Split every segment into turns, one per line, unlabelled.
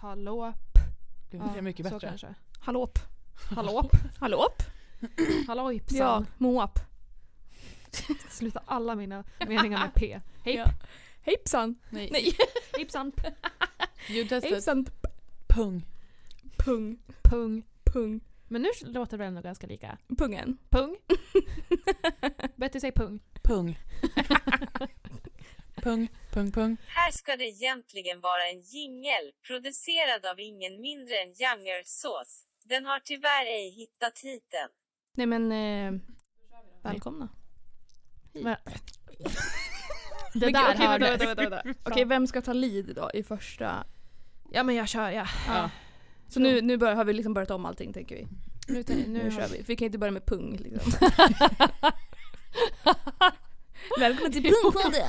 Hallå.
Blev inte det mycket
Så
bättre?
kanske.
Hallåp.
Hallå.
Hallåp?
Hallåjpsan.
Ja, måp.
Sluta alla mina meningar med P. Hej.
Ja. Hejpsan.
Nej.
Nej,
Hejsan.
Ljudtestet.
hejpsan.
Pung.
Pung,
Pung.
pung.
Men nu låter det ändå ganska lika.
Pungen.
Pung. Betty säger pung.
Pung. pung, pung, pung.
Här ska det egentligen vara en jingel, producerad av ingen mindre än Younger Sås. Den har tyvärr ej hittat hit än.
Nej men, eh, välkomna.
Det
Men-
där
okej,
hörde.
vänta, vänta, vänta, vänta. Okej, vem ska ta lead idag i första?
Ja men jag kör ja.
Ja.
Så nu, nu bör, har vi liksom börjat om allting tänker vi.
Nu, tar-
Nu,
nu
kör
har-
vi. Vi kan inte börja med pung liksom. Välkommen till pungpodden!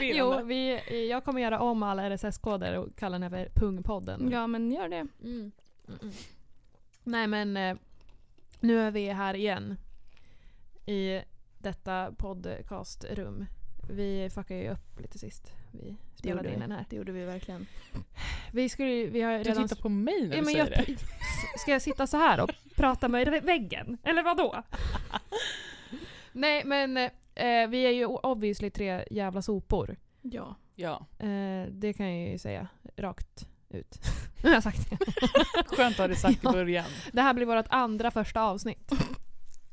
Jo, vi, jag kommer göra om alla RSS-koder och kalla den här för Pungpodden.
Ja men gör det.
Mm. Mm. Nej men eh, nu är vi här igen. I detta podcastrum. Vi fuckade ju upp lite sist vi spelade in
gjorde vi.
den här.
Det gjorde vi verkligen.
Vi skulle ju- vi har
Du
redan...
tittar på mig när
Ja,
du
men
säger
jag-
det.
Ska jag sitta så här och prata med väggen? Eller vad då? Nej men eh, vi är ju obviously tre jävla sopor.
Ja.
Ja.
Eh, det kan jag ju säga rakt ut. nu har jag sagt det.
Skönt att ha det sagt i början.
Det här blir vårt andra första avsnitt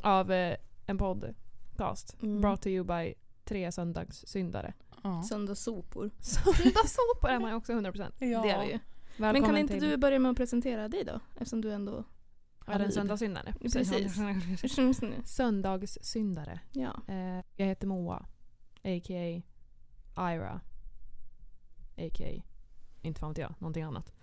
av eh, en podcast.
Mm.
Brought to you by tre söndagssyndare.
Ja.
Söndagssopor.
Söndagssopor är man ju också 100%.
Ja.
Det är vi ju.
Välkommen
Men kan inte
till
du börja med att presentera dig då? Eftersom du ändå
är en
gravid.
söndagssyndare.
Precis.
Söndagssyndare.
Ja.
Eh, jag heter Moa. A.k.a. Ira. A.k.a. Inte fan vet jag, någonting annat.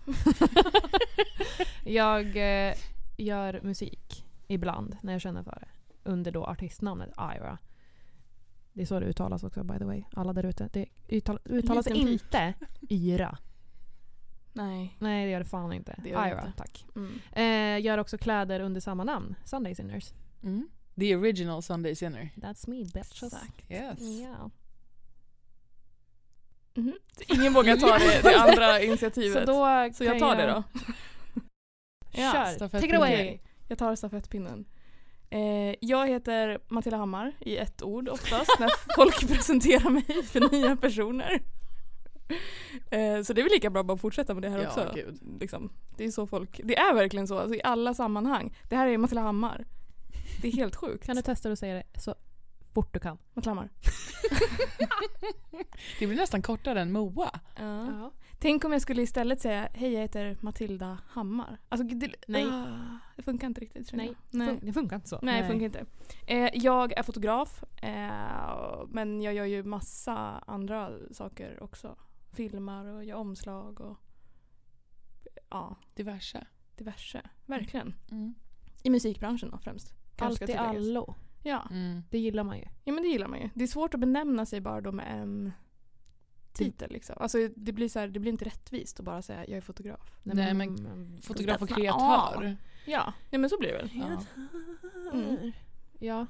jag eh, gör musik ibland när jag känner för det. Under då artistnamnet Ira. Det är så det uttalas också by the way. Alla där ute. Det uttal, uttalas
Liten pik.
inte Yra.
Nej.
Nej det gör det fan inte.
Det gör det
Ira,
inte.
tack.
Mm.
Eh, gör också kläder under samma namn. Sunday Sinners.
Mm. The original Sunday Sinner.
That's me bitches.
Exakt.
Yes.
Yeah.
Mhm.
Ingen vågar ta det, det andra initiativet.
Så, då
Så jag
kan
tar det då.
Kör!
Ja,
Take it
stafettpinnen.
away!
Jag tar stafettpinnen. Eh, jag heter Matilda Hammar i ett ord oftast när folk presenterar mig för nya personer. Eh, så det är väl lika bra att bara fortsätta med det här
Ja,
också.
gud.
Liksom, det är så folk, det är verkligen så alltså, i alla sammanhang. Det här är Matilda Hammar. Det är helt sjukt.
Kan du testa att säga det så fort du kan?
Matilda Hammar.
Det blir nästan kortare än Moa.
Ja. Tänk om jag skulle istället säga hej jag heter Matilda Hammar. Alltså, det,
Nej.
Ah, det funkar inte riktigt tror
Nej,
jag.
Nej. det funkar inte så.
Nej, det funkar inte. Eh, jag är fotograf eh, men jag gör ju massa andra saker också. Filmar och gör omslag och ja,
Diverse.
diverse. Verkligen.
Mm.
I musikbranschen då främst.
Allt
ska
i
tilläggas. Mm.
allo.
Ja.
Mm.
Det gillar man ju.
ja, men det gillar man ju. Det är svårt att benämna sig bara då med en titel liksom. Alltså det blir, så här, det blir inte rättvist att bara säga jag är fotograf.
Nej,
men,
Fotograf och
Ja.
kreatör.
Ja, nej, men så blir det väl.
Ja.
Mm.
Ja.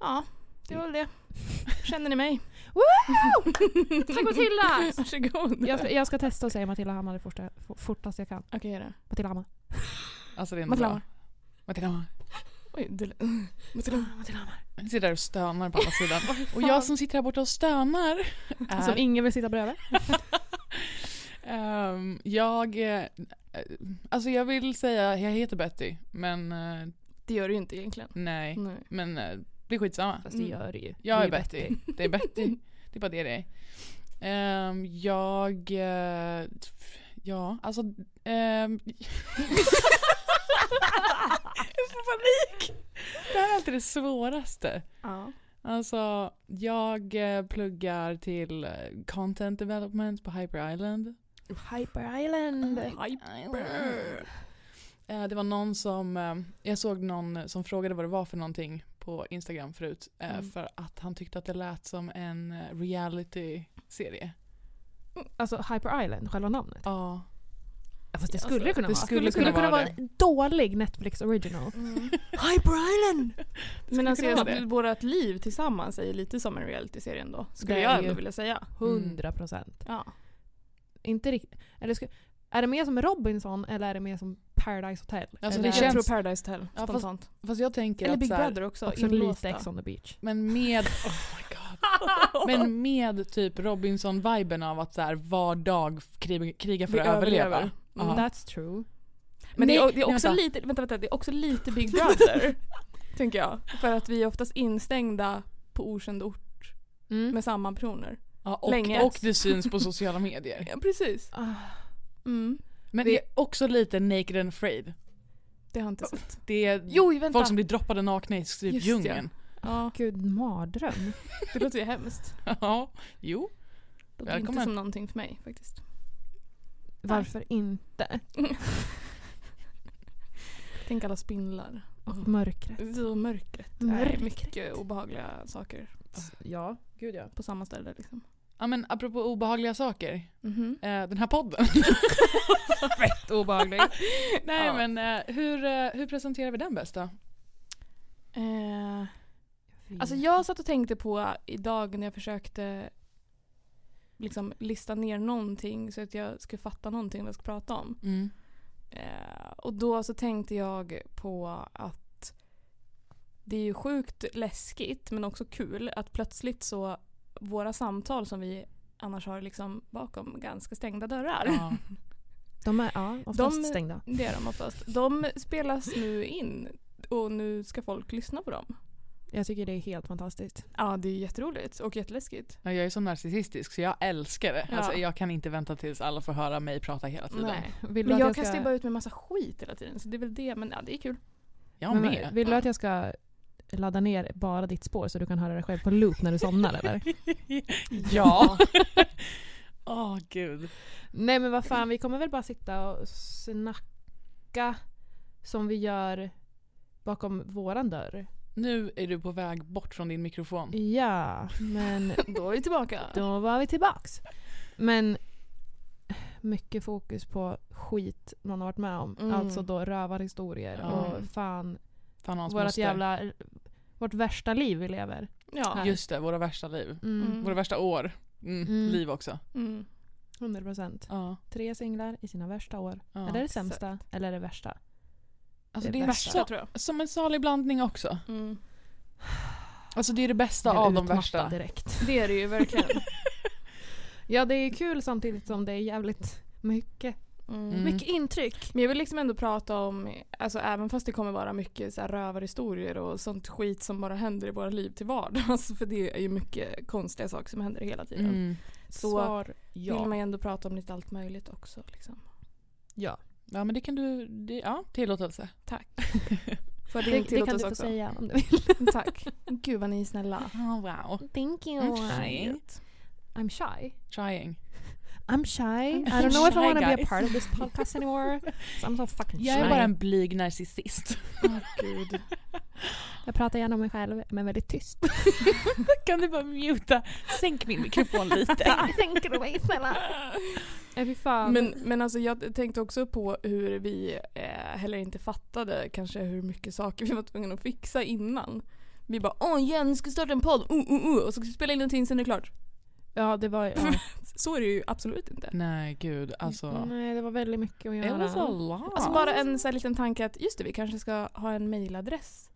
Ja, det var väl det. Känner ni mig?
Tack Matilda!
Varsågod.
jag, jag ska testa att säga Matilda Hammar det fortast, fortast jag kan.
Okej, gör det.
Matilda Hammar.
Alltså det är inte bra.
Matilda Hammar.
Matilda Hammar.
Oj, det... Matilda Hammar.
Matilda Hammar.
Jag sitter där och stönar på andra sidan. Och jag som sitter här borta och stönar är...
Som ingen vill sitta bredvid.
Ehm, jag... eh, Alltså jag vill säga, jag heter Betty, men eh,
Det gör du ju inte egentligen.
nej.
Nej.
Men eh, det är skitsamma.
Fast det gör Mm. det ju.
Jag
Det
är Betty. Det är Betty. Det är bara det det är. Ehm, jag... eh, ja, alltså... ehm, jag får panik! Det här är alltid det svåraste.
Ja.
Alltså, jag eh, pluggar till eh, content development på Hyper Island.
Hyper Island.
Mm.
Hyper. Eh, Det var någon som, eh, jag såg någon som frågade vad det var för någonting på Instagram förut. eh,
Mm.
För att han tyckte att det lät som en eh, reality-serie.
Alltså Hyper Island, själva namnet.
Ja.
Ja, Fast det skulle det kunna
det
vara.
skulle
det skulle
kunna
kunna
vara
vara en dålig Netflix original.
Hyper Island! Men alltså
kunna
jag,
vara det.
vårt liv tillsammans är ju lite som en realityserie ändå. Skulle
Det är
jag ändå
ju-
vilja säga.
Mm.
100%.
Ja.
Inte riktigt. Eller ska, Är det mer som Robinson eller är det mer som Paradise Hotel?
Alltså, det
eller,
jag
känns-
tror Paradise Hotel
Ja, fast-
spontant.
Fast jag tänker
Eller
att
Big
så här,
Brother också.
också
inlåsta.
lite Ex on the beach.
Men med, oh my god. Men med typ Robinson-viben av att så här, var dag krig, kriga för
Vi
att överleva.
överlever.
Ja.
That's true.
Men det är,
Nej,
det är
nej,
också
vänta.
lite, vänta, vänta, det är också lite Big Brother. tänker jag. För att vi är oftast instängda på okänd ort
Mm.
med samma personer.
Ja, och,
Länge.
och det syns på sociala medier.
Ja, precis.
Ah,
Mm.
Men
Det-
det är också lite naked and afraid.
Det har jag inte sett.
Det är
Jo, vänta!
folk som blir droppade nakna i typ
Just det.
djungeln.
Ja,
Gud, mardröm.
det låter ju hemskt.
Ja, jo.
Det låter inte
Välkommen.
som någonting för mig faktiskt.
Varför inte?
Tänk alla spindlar. Mm.
Och mörkret.
Och mörkret. Mörkret.
Mörkret.
Är mycket obehagliga saker
Ah. Ja, gud ja.
på samma ställe liksom.
Ja men apropå obehagliga saker.
Mhm.
Eh, den här podden.
Fett obehagligt.
Nej
Ja.
men eh, hur, eh, hur presenterar vi den bäst då?
Eh, Alltså jag satt och tänkte på idag när jag försökte liksom lista ner någonting så att jag skulle fatta någonting vad jag ska prata om.
Mm.
Eh, och då så tänkte jag på att det är ju sjukt läskigt men också kul att plötsligt så våra samtal som vi annars har liksom bakom ganska stängda dörrar.
Ja.
De är ja, oftast
De-
stängda.
Det är de oftast. De spelas nu in och nu ska folk lyssna på dem.
Jag tycker det är helt fantastiskt.
Ja, det är jätteroligt och jätteläskigt.
Ja, Jag är så narcissistisk så jag älskar det.
Ja.
Alltså, jag kan inte vänta tills alla får höra mig prata hela tiden.
Nej.
Vill du
Men
att
jag,
ska-
kastar ju bara ut med massa skit hela tiden så det är väl det, men ja, det är kul.
Jag
Men,
med.
Vill du att jag ska ladda ner bara ditt spår så du kan höra dig själv på loop när du somnar eller?
Ja. Åh gud.
Nej men vad fan, vi kommer väl bara sitta och snacka som vi gör bakom våran dörr.
Nu är du på väg bort från din mikrofon.
Ja, men
Då är vi tillbaka.
då var vi tillbaks. Men mycket fokus på skit man har varit med om.
Mm.
Alltså då rövarhistorier
Ja.
och fan,
Fan hans
vårat
moster.
jävla, vårt värsta liv vi lever.
Ja.
Just det, våra värsta liv.
Mm.
Mm.
Våra värsta år. Mm.
Mm.
Liv också.
Mm.
100 procent.
Ja.
Tre singlar i sina värsta år.
ja.
eller det sämsta, eller det värsta.
Alltså,
det
det är
värsta?
så,
tror jag.
som en salig blandning också.
Mm.
Alltså det är det bästa
Blev
av de
utmattad
värsta.
direkt.
Det är det ju verkligen.
Ja, det är kul samtidigt som det är jävligt mycket.
Mm.
Mm.
Mycket intryck.
Men jag vill liksom ändå prata om, alltså även fast det kommer vara mycket så här rövarhistorier och sånt skit som bara händer i våra liv till vardags, alltså, för det är ju mycket konstiga saker som händer hela tiden.
Mm.
Så
Svar
Vill
ja.
man ju ändå prata om lite allt möjligt också. Liksom.
ja.
Ja men det kan du, det, ja tillåtelse.
Tack. För
Det,
din
det kan du
tillåtelse
få
också.
säga om du vill.
Tack. Gud vad ni är snälla.
Oh, wow.
Thank you.
Mm.
I'm shy.
Trying.
I'm shy. I
I'm
don't know if I
shy,
want to be a
guys.
part of this podcast anymore. So I'm so fucking
Jag
shy.
är bara en blyg narcissist.
Gud.
Jag pratar gärna om mig själv, men väldigt tyst.
kan du bara muta? Sänk min mikrofon lite.
Tänker du mig snälla? Nej fy fan.
Men, men alltså jag tänkte också på hur vi eh, heller inte fattade kanske hur mycket saker vi var tvungna att fixa innan. Vi bara åh Jens ska starta en podd, uh, uh, uh, och så ska vi spela in någonting sen är det klart.
ja, det var... Ja.
Så är det ju absolut inte.
Nej gud alltså.
Nej, det var väldigt mycket att
It
göra.
was a lot.
Alltså bara en så här liten tanke att just det, vi kanske ska ha en mailadress.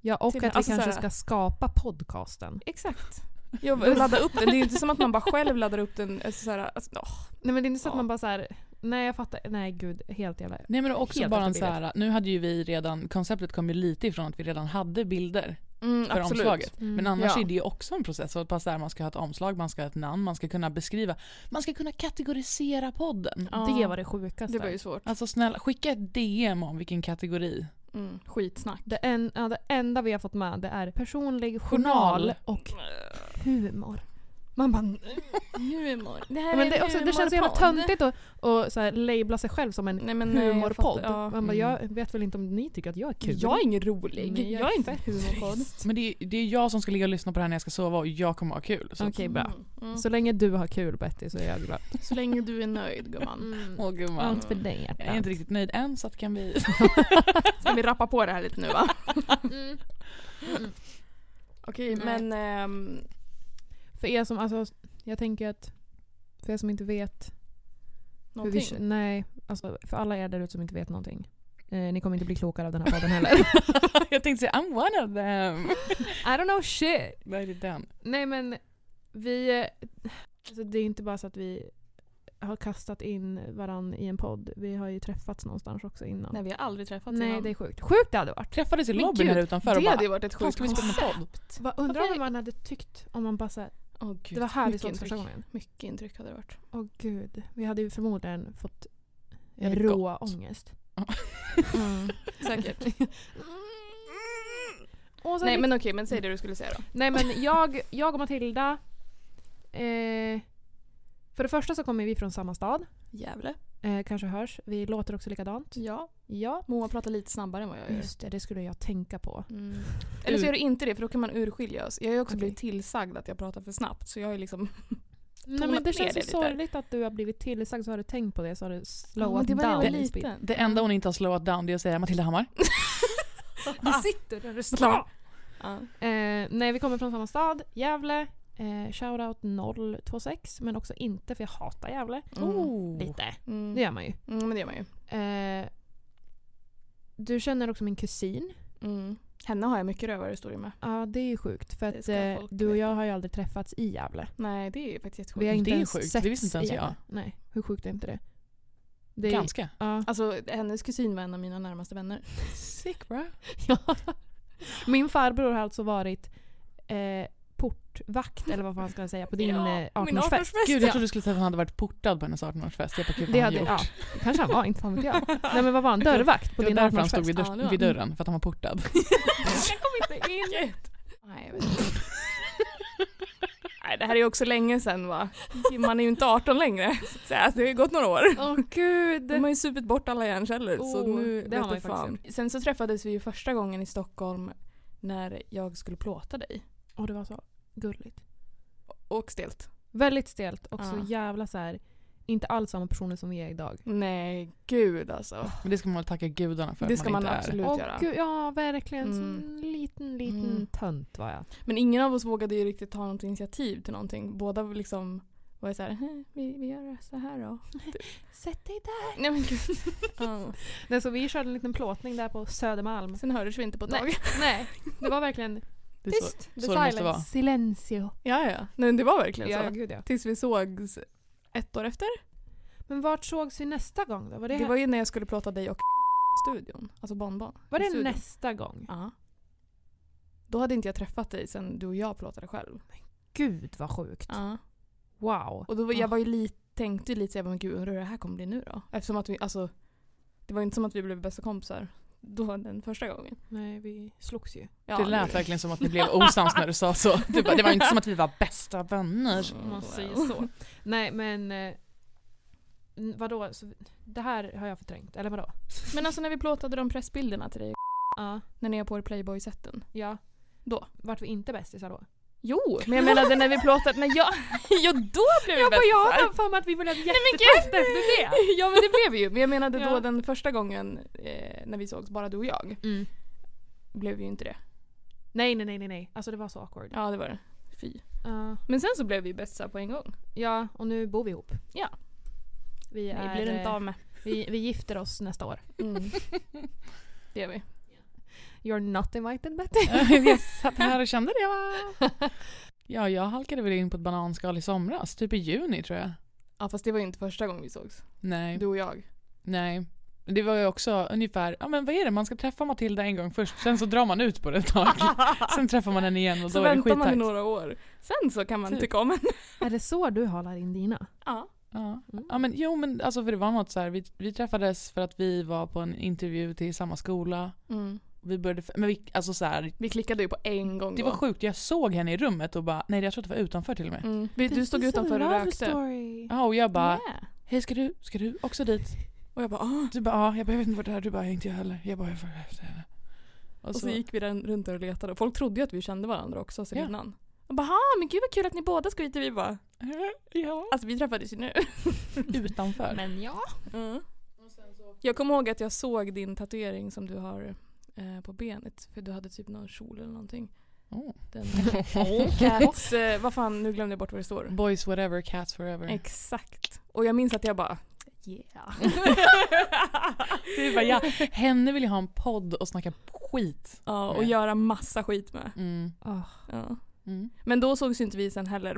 Ja, och
Till-
att vi
alltså
kanske
såhär-
ska skapa podcasten.
Exakt. Jag ladda upp den, det är ju inte som att man bara själv laddar upp den. Alltså, så här, alltså, åh.
Nej men det är inte så att
Ja.
man bara så här. nej jag fattar, nej gud, helt jävla...
Nej men också
Helt
bara en så
etablerat.
här, nu hade ju vi redan, konceptet kom ju lite ifrån att vi redan hade bilder
Mm,
för omslaget.
Mm.
Men annars
Ja.
är det ju också en process. Så pass där man ska ha ett omslag, man ska ha ett namn, man ska kunna beskriva, man ska kunna kategorisera podden.
Ja.
Det var det sjukaste.
Det var ju svårt.
Alltså snälla, skicka ett DM om vilken kategori.
Mm, skitsnack.
Det, en, ja, det enda vi har fått med det är personlig journal,
Journal.
och humor. Man bara,
Humor. Det här
men
är
det,
en
är också, det känns så jävla
humorpodd.
töntigt att och så här, labla sig själv som en
Nej, men, eh, jag
humorpodd.
fattar, ja.
Man bara,
Mm.
jag vet väl inte om ni tycker att jag är kul.
Jag är ingen rolig.
Nej,
jag,
jag
är
är
inte
fett
humorpodd.
Men det är, det är jag som ska ligga och lyssna på det här när jag ska sova och jag kommer ha kul. Så.
Okej bra.
Mm.
Så länge du har kul Betty så är jag glad.
Så länge du är nöjd gumman.
Mm.
Åh gumman.
Allt för dig
Jag är
hjärtat.
inte riktigt nöjd än så att kan vi...
Ska vi rappa på det här lite nu va?
Mm. Mm.
Okej
Nej.
men ehm,
För er som, alltså, jag tänker att, för er som inte vet Hur
någonting.
vi, nej, alltså för alla er där ute som inte vet någonting. Eh, ni kommer inte bli klokare av den här podden heller.
jag tänkte säga I'm one of them.
I don't know shit.
Vad är det den?
Nej men vi... Alltså det är inte bara så att vi har kastat in varann i en podd. Vi har ju träffats någonstans också innan.
Nej vi har aldrig träffats
Nej
innan.
det är sjukt. Sjukt det hade varit.
Träffades i
Men
lobbyn
gud,
här utanför och
det hade
bara
ju varit ett
Fan
sjukt
ska vi spela en podd?
Vad undrar
Varför
vad
är-
man hade tyckt om man bara såhär,
Åh, gud.
det var här vi
mycket
sågs första
intryck.
gången.
Mycket intryck hade det varit.
Åh gud. Vi hade ju förmodligen fått
Eller
rå ångest. Mm,
Säkert.
Och sen
Nej men okej, men säg det du skulle säga då.
Nej men jag, jag och Matilda... Eh, för det första så kommer vi från samma stad.
Gävle.
Eh, kanske hörs. Vi låter också likadant.
Ja.
Ja.
Moa pratar lite snabbare än vad jag gör.
Just det, det skulle jag tänka på.
Mm. Eller så gör du inte det för då kan man urskilja oss. Jag har ju också
Okej.
blivit tillsagd att jag pratar för snabbt så jag är liksom...
Nej
Tona
men det känns
ner
så
det lite där.
sorgligt att du har blivit tillsagd så har du tänkt på det så har du
Ja, men
slowat
det var när jag
down.
var
din speed.
liten.
Det enda hon inte har slowat down det är att säga Matilda Hammar.
Du sitter där du ska.
Ja.
Eh, nej, vi kommer från samma stad, Gävle. Eh, shoutout 026, men också inte för jag hatar Gävle.
Mm.
Oh,
Lite,
Mm.
det gör man ju.
Mm, men det gör man ju.
Eh, du känner också min kusin.
Mm. Henne har jag mycket rövarhistorier med.
Ja, det är ju sjukt för
Det
att
ska
eh,
folk
du och jag
veta.
har ju aldrig träffats i Gävle.
Nej det är ju faktiskt
Vi har
jättesjukt.
inte
Det är
ens
sjukt, det
setts
visste inte ens
i Gävle.
jag.
Nej, hur sjukt är inte det? det är,
Ganska.
Ja.
Alltså hennes kusin var en av mina närmaste vänner.
Sick bra.
Ja. Min farbror har alltså varit eh, portvakt, eller vad fan ska jag säga, på din
Ja,
eh,
min
18-årsfest.
18-årsfest.
Gud jag trodde du skulle säga att han hade varit portad på hennes 18-årsfest. Jag bara, gud, vad
Det
har han
hade,
gjort?
ja, kanske han var, inte fan vet jag. Nej men vad var han, dörrvakt på
Det var
din
därför han stod
18-årsfest?
vid,
Ja, det
dörr-
var-
vid dörren, för att han var portad.
Jag kom inte in. Nej, jag vet inte. Nej, det här är ju också länge sedan va? Man är ju inte 18 längre. Så att säga. det har ju gått några år.
Åh gud!
De har ju supit bort alla hjärnceller så
Oh,
nu
det
vet
har man
du
ju faktiskt
fan. Sen så träffades vi ju första gången i Stockholm när jag skulle plåta dig.
Och det var så gulligt.
Och stelt.
Väldigt stelt och så
Ja.
jävla så här. inte alls samma personer som vi är idag.
Nej, gud alltså.
Men det ska man väl tacka gudarna för
Det
att
ska
man
man
inte är.
absolut
Åh
göra.
gud, ja verkligen. Som
Mm.
en liten, liten
Mm.
tönt var jag.
Men ingen av oss vågade ju riktigt ta något initiativ till någonting. Båda var liksom var ju såhär, "Hej, vi, vi gör så här då.
Sätt dig där!
Nej men gud. Ja.
Nej, så vi körde en liten plåtning där på Södermalm.
Sen hördes vi inte på ett
Nej.
tag.
Nej, det var verkligen
Det är så,
The
så det måste vara.
Silencio.
Ja, ja. Nej, men det var verkligen
Ja,
så.
ja, gud ja.
Tills vi sågs ett år efter.
Men vart sågs vi nästa gång då? Var det,
Det var ju när jag skulle plåta dig och i studion. Alltså barnbarn.
var
i
det
studion.
nästa gång?
Ja. Då hade inte jag träffat dig sen du och jag plåtade själv.
Gud vad sjukt.
Ja.
Wow.
Och då var,
Ja.
jag var ju lite, tänkte ju lite såhär, men gud undrar hur det här kommer bli nu då? Eftersom att vi, alltså. Det var ju inte som att vi blev bästa kompisar då den första gången.
Nej, vi slogs ju.
Ja,
det lät verkligen som att ni blev osams när du sa så. Du bara, det var inte som att vi var bästa vänner.
Om man säger så. Nej men... eh, n- Vadå? Så, det här har jag förträngt. Eller vadå?
Men alltså när vi plåtade de pressbilderna till dig och
Ja.
när ni har på er Playboy-sätten.
ja.
Då.
Vart vi inte bästisar då?
Jo, men jag menade när vi plåtade, när jag, ja då blev vi
Jag bara, jag
bästisar.
har för mig att vi blev
men
jättetätt efter det.
Ja men det blev vi ju, men jag menade
Ja.
då den första gången eh, när vi sågs, bara du och jag,
Mm.
blev vi ju inte det.
Nej, nej, nej, nej, nej. Alltså det var så awkward. Ja.
Ja det var det. Fy. Men sen så blev vi bästisar på en gång.
ja, och nu bor vi ihop.
Ja.
Vi, är,
Vi blir inte
eh,
av med. Mm.
vi, vi gifter oss nästa år.
Det gör vi.
You're not invited Betty.
jag satt här och kände det va? Ja, jag halkade väl in på ett bananskal i somras, typ i juni tror jag.
Ja fast det var ju inte första gången vi sågs.
Nej,
Du och jag.
nej. Det var ju också ungefär, ja men vad är det, man ska träffa Matilda en gång först, sen så drar man ut på det ett tag. Sen träffar man henne igen och
Så
då är det
väntar man i
skittajt.
några år. Sen så kan man
Typ.
tycka om en.
är det så du halar in dina?
Ja.
Ja.
Mm.
ja men jo men alltså för det var något så här, vi, vi träffades för att vi var på en intervju till samma skola. Vi började, f- men vi, alltså så här,
Mm. Vi klickade ju på en gång
det
då.
var sjukt, jag såg henne i rummet och bara, nej jag tror att det var utanför till och med.
Mm. Vi, du stod
This is a
utanför och
love
rökte.
Story.
Ja och jag bara,
Yeah.
hej ska du, ska du också dit?
Och jag bara ah.
Du bara, ja, jag, bara, jag vet inte vart det är. Du bara, jag inte jag heller. Jag bara, jag får efter henne. Och
Och
så,
så gick vi den runt där och letade. Folk trodde ju att vi kände varandra också sen
Alltså- Ja.
innan. Jag bara "Ha, men gud vad kul att ni båda ska hit. Och vi bara
ja.
Alltså vi träffades ju nu. "Äh." Mm.
utanför.
Men ja.
Jag kommer ihåg att jag såg din tatuering som du har eh, på benet. För du hade typ någon kjol eller någonting.
Oh.
Den Cats, eh, vad fan nu glömde jag bort vad det står.
Boys whatever, cats forever.
Exakt. Och jag minns att jag bara
Yeah.
Du bara, ja, henne vill jag ha en podd och snacka skit.
Ja, och
Nej.
göra massa skit med.
Mm.
Oh,
Ja.
Mm.
Men då sågs ju inte vi sen heller.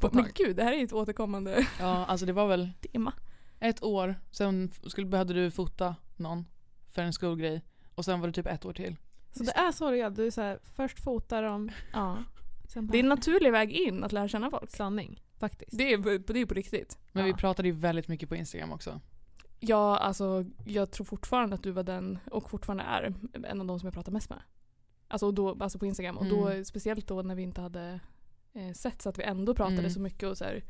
På ett
Men
tag.
gud, det här är ju ett återkommande
Ja, alltså det var väl
tema.
ett år, sen f- skulle, behövde du fota någon för en skolgrej. Och sen var det typ ett år till.
så det är så det är. Du är så här, först fotar dem,
Ja.
sen bara...
Det är en naturlig väg in att lära känna folk.
sanning. Faktiskt.
Det är, på- det är på riktigt.
Men
Ja.
vi pratade ju väldigt mycket på Instagram också.
Ja, alltså, jag tror fortfarande att du var den, och fortfarande är, en av de som jag pratar mest med. Alltså, och då, alltså på Instagram. Och då,
Mm.
speciellt då när vi inte hade eh, sett så att vi ändå pratade
Mm.
så mycket. Och så här,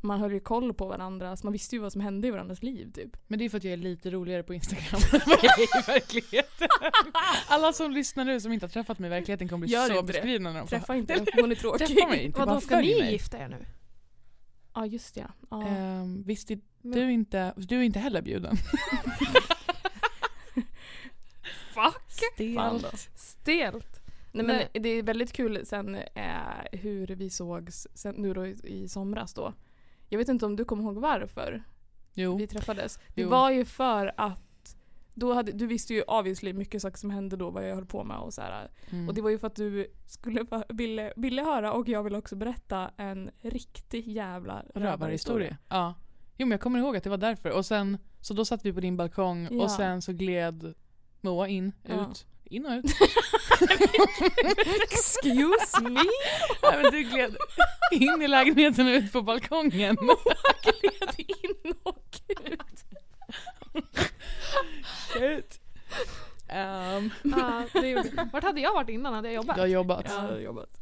man höll ju koll på varandra, alltså, man visste ju vad som hände i varandras liv. Typ.
Men det är för att jag är lite roligare på Instagram än vad jag är i verkligheten. Alla som lyssnar nu som inte har träffat mig i verkligheten kommer bli
Gör
så
inte det.
beskrivna när de får
Träffa inte hon är tråkig.
Träffa mig inte, bara
Vadå, ska
följ
ni
mig.
gifta er nu?
Ja, just det. Ja.
Ehm, visst är
Men-
du inte, du är inte heller bjuden.
Fan
Stelt.
då.
Stelt.
Nej, men
Nej.
Det är väldigt kul sen eh, hur vi sågs sen, nu då i, i somras då. Jag vet inte om du kommer ihåg varför
Jo.
vi träffades. Det
Jo.
var ju för att då hade, du visste ju obviously mycket saker som hände då, vad jag höll på med och så här.
Mm.
Och det var ju för att du skulle få- ville, ville höra och jag ville också berätta en riktig jävla rövarhistoria.
Rövarhistoria. Ja. Jo men jag kommer ihåg att det var därför. Och sen, så då satt vi på din balkong
Ja.
och sen så gled Moa in,
Ja.
ut, in och ut.
Excuse me?
Nej, men du gled in i lägenheten och ut på balkongen.
Gled in och ut.
Shit. Ehm,
Ja, det gjorde- Vart hade jag varit innan? Hade jag jobbat?
du har Alltså, jobbat.
Ja, det är jobbat.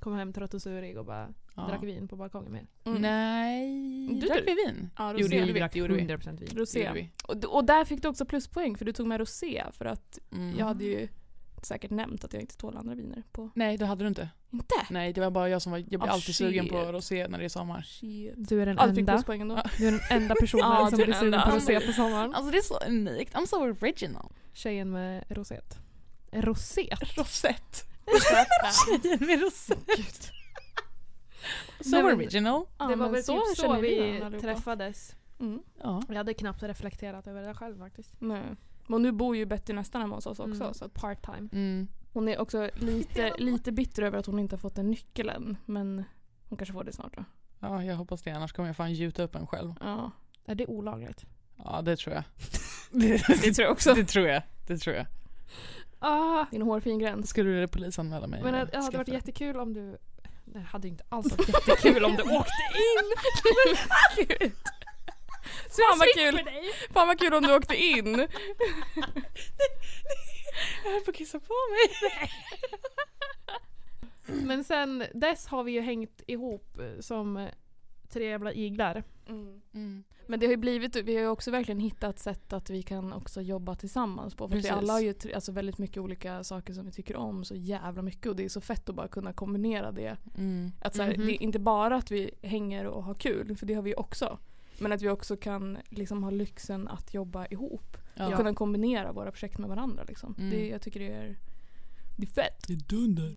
Kom hem trött och surig och bara
Ja.
drack vin på balkongen med.
Mm.
Nej,
Du
drack
drack-
vi vin?
Ja,
Jo, det
rosé.
gjorde vi. Det gjorde vi.
100% vin.
Rosé.
Gjorde vi.
Och, d- och där fick du också pluspoäng för du tog med rosé för att
Mm.
jag hade ju säkert nämnt att jag inte tål andra viner på...
Nej, det hade du inte.
Inte?
Nej, det var bara jag som var... Jag blir
Ah,
alltid sugen
shit.
på rosé när det är sommar.
Shit.
Du är den
Ja, du fick
enda.
pluspoäng ändå.
Du är den enda personen
Ja,
som
du är
blir
den
sugen
enda.
på rosé på sommaren.
Alltså det är så unikt. I'm so original.
Tjejen med rosett. Rosett?
Rosett.
Tjejen med rosett.
So original.
Ja,
det var
men
väl så, typ så
känner
vi
varandra allihopa.
träffades.
Mm.
Ja.
Jag hade knappt reflekterat över det där själv faktiskt.
Nej. Och nu bor ju Betty nästan hemma hos oss också.
Mm.
Så att
Part-time.
Mm.
hon är också lite, lite bitter över att hon inte har fått en nyckel än. Men hon kanske får det snart då.
Ja, jag hoppas det. Annars kommer jag fan gjuta upp en själv.
Ja.
Är det olagligt?
Ja, det tror jag. det, tror jag också. Det tror jag. Det tror jag.
Ah,
Det är en hårfin gräns.
Skulle du polisanmäla mig?
men
eller
det det hade varit
skaffa-
jättekul om du... Det hade ju inte alls varit jättekul om du åkte in.
Fan vad kul! Fan vad kul om du åkte in!
Jag höll på att kissa på mig.
Men sen dess har vi ju hängt ihop eh, som eh, tre jävla iglar.
Mm.
Mm.
Men det har ju blivit, vi har ju också verkligen hittat sätt att vi kan också jobba tillsammans på. För att vi
Precis.
alla har ju tr- alltså väldigt mycket olika saker som vi tycker om så jävla mycket och det är så fett att bara kunna kombinera det.
Mm.
Att så här,
Mhm.
Det är inte bara att vi hänger och har kul, för det har vi ju också. Men att vi också kan liksom ha lyxen att jobba ihop
Ja.
och kunna kombinera våra projekt med varandra. Liksom.
Mm.
Det, jag tycker det är, det är fett.
Det är dunder.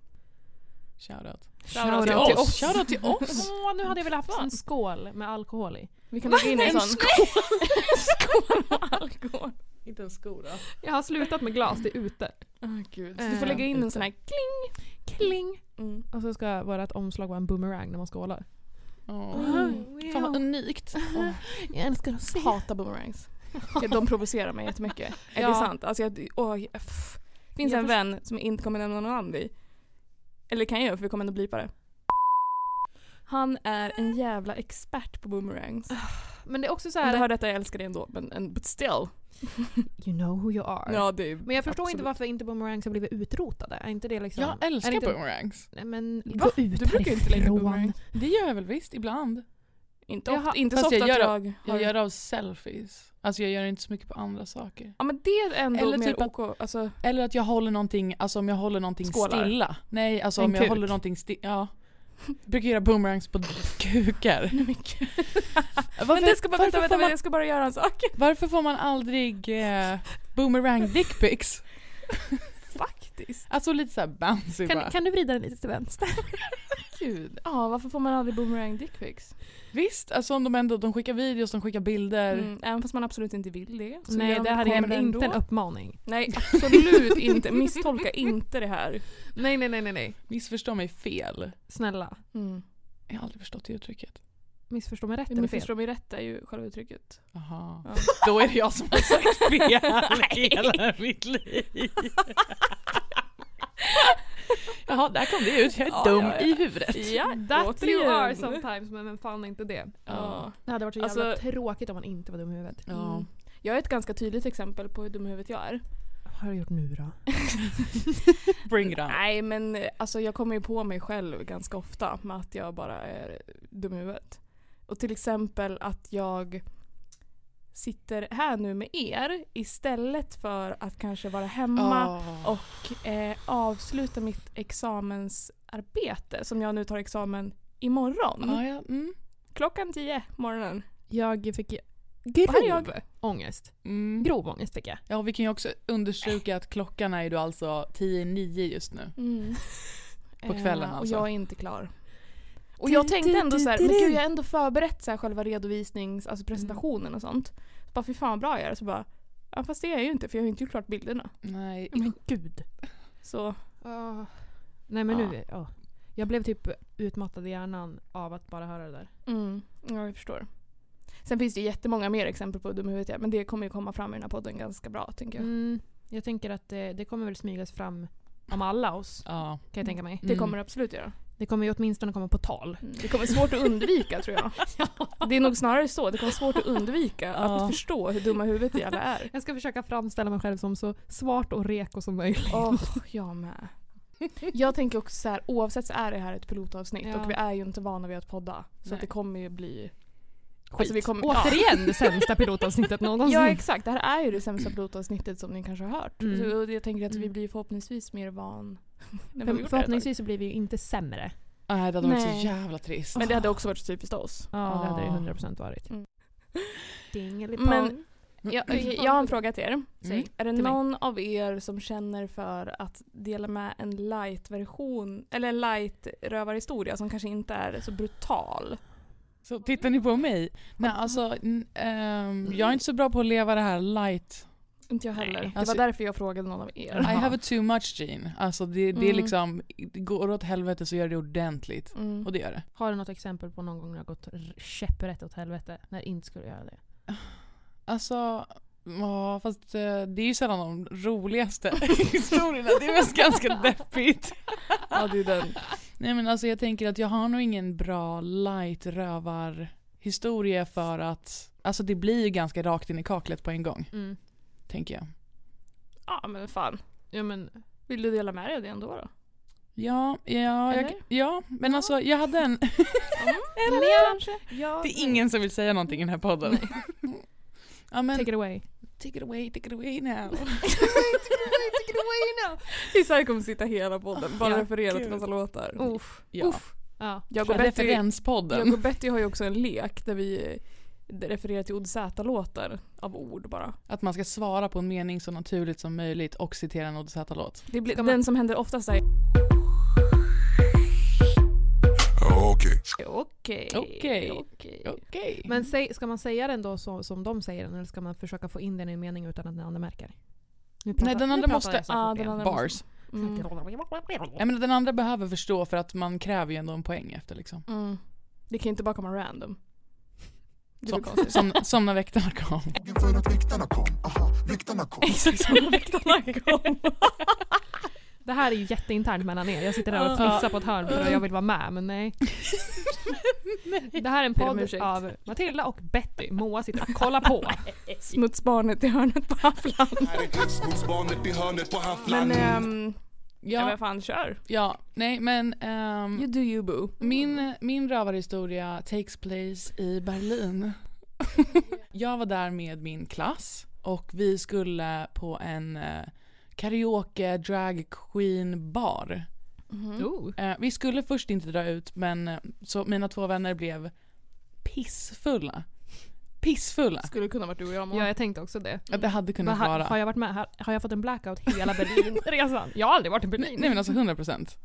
Shoutout.
Shoutout till
Till
oss.
oss. Shoutout till oss.
Åh, nu hade jag velat haft en skål med alkohol i.
Vi kan lägga in en
En
sån. Skål! skål med alkohol.
Inte en sko då.
Jag har slutat med glas, det är ute.
Åh gud. Så du får
Eh,
lägga in en
lite.
sån här kling.
Kling!
Mm.
Och så ska vårt omslag vara en boomerang när man skålar.
Oh, Fan vad unikt.
jag älskar att se.
Hatar boomerangs. Ja, De provocerar mig jättemycket. Är
Ja.
det sant? Alltså jag, åh, jag- pff. Det finns
Jag
en
först-
vän som jag inte kommer nämna någon namn vid. Eller kan jag göra för vi kommer ändå blipa det. Han är en jävla expert på boomerangs.
Men det är också så
Om du
här.
hör detta, jag älskar dig ändå. Men en, but still.
You know who you are.
Ja, det är
Men jag förstår
absolut.
inte varför inte boomerangs har blivit utrotade. Är inte det liksom...
Jag älskar
är inte-
boomerangs.
Nej men
Va?
gå ut
Du brukar ju inte lägga
härifrån.
boomerangs.
Det gör jag väl visst, ibland.
Inte,
Jaha,
ofta, inte så
fast
ofta
jag
att
gör
jag har...
Jag gör av selfies. Alltså jag gör inte så mycket på andra saker.
Ja men det är ändå
Eller
mer
typ att-
OK. Alltså,
Eller att jag håller någonting, alltså om jag håller någonting
Skålar.
stilla. Nej, alltså
En
om jag
kuk.
håller någonting stilla. Ja. Jag brukar göra boomerangs på kukar.
nej men gud.
Varför,
Men det ska bara, vänta,
varför,
vänta,
får
vänta,
man,
jag ska bara göra en sak.
varför får man aldrig eh, boomerang dickpics?
Faktiskt.
Alltså lite såhär bouncy
Kan,
bara.
kan du vrida den lite till vänster?
Gud.
Ja, varför får man aldrig boomerang dickpics?
Visst, alltså om de ändå de skickar videos, de skickar bilder.
Mm, även fast man absolut inte vill det. så gör
Nej,
de
det här är
kommer
en-
ändå.
inte en uppmaning.
Nej, absolut inte. Misstolka inte det här.
Nej, nej, nej, nej, nej.
Missförstå mig fel.
Snälla.
Mm.
Jag har aldrig förstått det uttrycket.
Missförstå mig rätt eller
Men
fel.
förstå mig rätt är ju själva uttrycket.
Aha.
Ja.
Då är det jag som har sagt fel hela mitt liv. Jaha, där kom det ut. Jag är
Ja,
dum
ja, ja.
i huvudet.
That you
Mm, återigen.
are sometimes, men vem fan är inte det?
Ja.
Det hade varit så
Alltså-
jävla tråkigt om man inte var dum i huvudet.
Ja.
Mm. Jag är ett ganska tydligt exempel på hur dum i huvudet jag är.
Vad har jag gjort nu då?
Bring it on.
Nej men eh, alltså jag kommer ju på mig själv ganska ofta med att jag bara är dum i huvudet. Och till exempel att jag sitter här nu med er istället för att kanske vara hemma
Åh.
och eh, avsluta mitt examensarbete som jag nu tar examen imorgon.
Ja, ja, mm.
Klockan 10 morgonen.
Jag fick ju-
Och här är
grov
jag.
ångest.
Mm.
Grov ångest fick jag.
Ja, vi kan ju också understryka att klockan är ju då alltså 10 i 9 just nu. På
Mm.
kvällen
Eh,
alltså.
Och jag är inte klar. Och
Du,
jag tänkte
du,
ändå
du,
så här,
du,
men
du.
gud jag har ändå förberett så här själva redovisnings, alltså presentationen och sånt. Så bara fy fan vad bra jag är. Så bara, ja fast det är jag ju inte för jag har ju inte gjort klart bilderna.
Nej.
Men gud.
Så
Ah. Nej men
Ja.
nu, ja. Jag blev typ utmattad i hjärnan av att bara höra det där.
mm, ja, jag förstår. Sen finns det ju jättemånga mer exempel på hur dum i huvudet jag är, men det kommer ju komma fram i den här podden ganska bra tänker jag.
Mm, jag tänker att det, det kommer väl smygas fram om alla oss,
Ja.
kan jag tänka mig.
Det kommer det absolut göra.
Det kommer ju åtminstone komma på tal.
Mm. Det kommer vara svårt att undvika tror jag. Det är nog snarare så, det kommer vara svårt att undvika
Ja.
att förstå hur dumma huvudet vi alla är.
Jag ska försöka framställa mig själv som så svart och reko som möjligt.
Åh, jag med. Jag tänker också så här, oavsett så är det här ett pilotavsnitt
Ja.
och vi är ju inte vana vid att podda. Så
Nej.
att det kommer ju bli...
Skit.
Alltså, vi kommer-
Återigen det sämsta pilotavsnittet någonsin.
Ja exakt, det här är ju det sämsta pilotavsnittet som ni kanske har hört.
Mm.
Så jag tänker att vi
Mm.
blir förhoppningsvis mer van. när vi har gjort det här
För,
ett
förhoppningsvis så blir vi ju inte sämre.
Nej, det hade varit
Nej.
så jävla trist.
tag. Men det hade också varit så typiskt oss.
Ja, det hade det ju
Ja.
100% varit.
Mm.
Dingelipong.
Men jag, jag har en fråga till er.
Säg.
Mm.
Är det
Till mig.
någon av er som känner för att dela med en light-version, eller en light-rövarhistoria som kanske inte är så brutal?
Så tittar ni på mig? Nej, alltså n- ehm, jag är inte så bra på att leva det här light.
Inte jag heller.
Nej,
det
alltså-
var därför jag frågade någon av er.
I have a too much gene. Alltså det, det är
Mm.
liksom, det går åt helvete så gör det ordentligt.
Mm.
Och det gör det.
Har du något exempel på någon gång när det har gått r- käpprätt åt helvete? När det inte skulle göra det?
Alltså, ja fast eh, det är ju sällan de roligaste historierna. Det är mest ganska deppigt.
Ja, det är den.
Nej men alltså jag tänker att jag har nog ingen bra light rövar historia för att Alltså det blir ju ganska rakt in i kaklet på en gång,
Mm.
tänker jag.
Ja, men fan. Mm.
Ja men,
Vill du dela med dig av det ändå då?
Ja, ja, jag,
Eller?
ja men alltså jag hade en... Mm.
Eller kanske?
ja,
Det är ingen som vill säga någonting i den här podden. ja men...
Take it away.
take it away, take it away now.
Isär kommer sitta hela podden, bara
Ja, Oh,
referera
gud.
till massa låtar.
Uff.
Ja.
Uff.
Ja.
Jag och, Betty, jag
Referenspodden.
och Betty har ju också en lek där vi eh, refererar till ord låtar av ord bara.
Att man ska svara på en mening så naturligt som möjligt och citera en OZ-låt.
Det blir,
Ska man-
Den som händer oftast är
Okay.
okej.
Okej.
okej.
Okej.
Men säg, ska man säga den då så, som de säger den eller ska man försöka få in den i en mening utan att den andra märker? Nu pratar-
Nej, den
nu
andra
pratar
måste-
jag så
Ja,
fort
den
igen.
andra-
Bars.
Mm.
Jag menar, den andra behöver förstå för att man kräver ju ändå en poäng efter liksom.
Mm. Det kan ju inte bara komma random. Det blir
Som,
konstigt.
som, som när väktarna kom.
För att väktarna kom, aha, väktarna kom.
Exakt som när väktarna kom.
Det här är ju jätteinternt mellan er. Jag sitter där och
Ja.
fnissar på ett hörn
Ah.
för att jag vill vara med men nej. Det här är en
Ber om
podd
ursäkt.
av Matilda och Betty. Moa sitter och kollar på.
Smutsbarnet i hörnet på Haffland.
Smutsbarnet i hörnet på
Men
hafflan.
ehm, ja.
Ja,
men fan kör.
ja nej men... ehm,
You do you boo.
Min, min rövarhistoria takes place i Berlin. jag var där med min klass och vi skulle på en eh, karaoke drag queen bar.
Mm-hmm.
Oh.
Eh, Vi skulle först inte dra ut men eh, så mina två vänner blev pissfulla. Pissfulla.
Skulle kunna varit du och jag
Ja, jag tänkte också det.
Ja, Det hade kunnat
Vad har, har
Mm. vara.
jag varit med här? Har jag fått en blackout hela Berlinresan? Jag har aldrig varit i Berlin.
Nej men alltså 100 procent.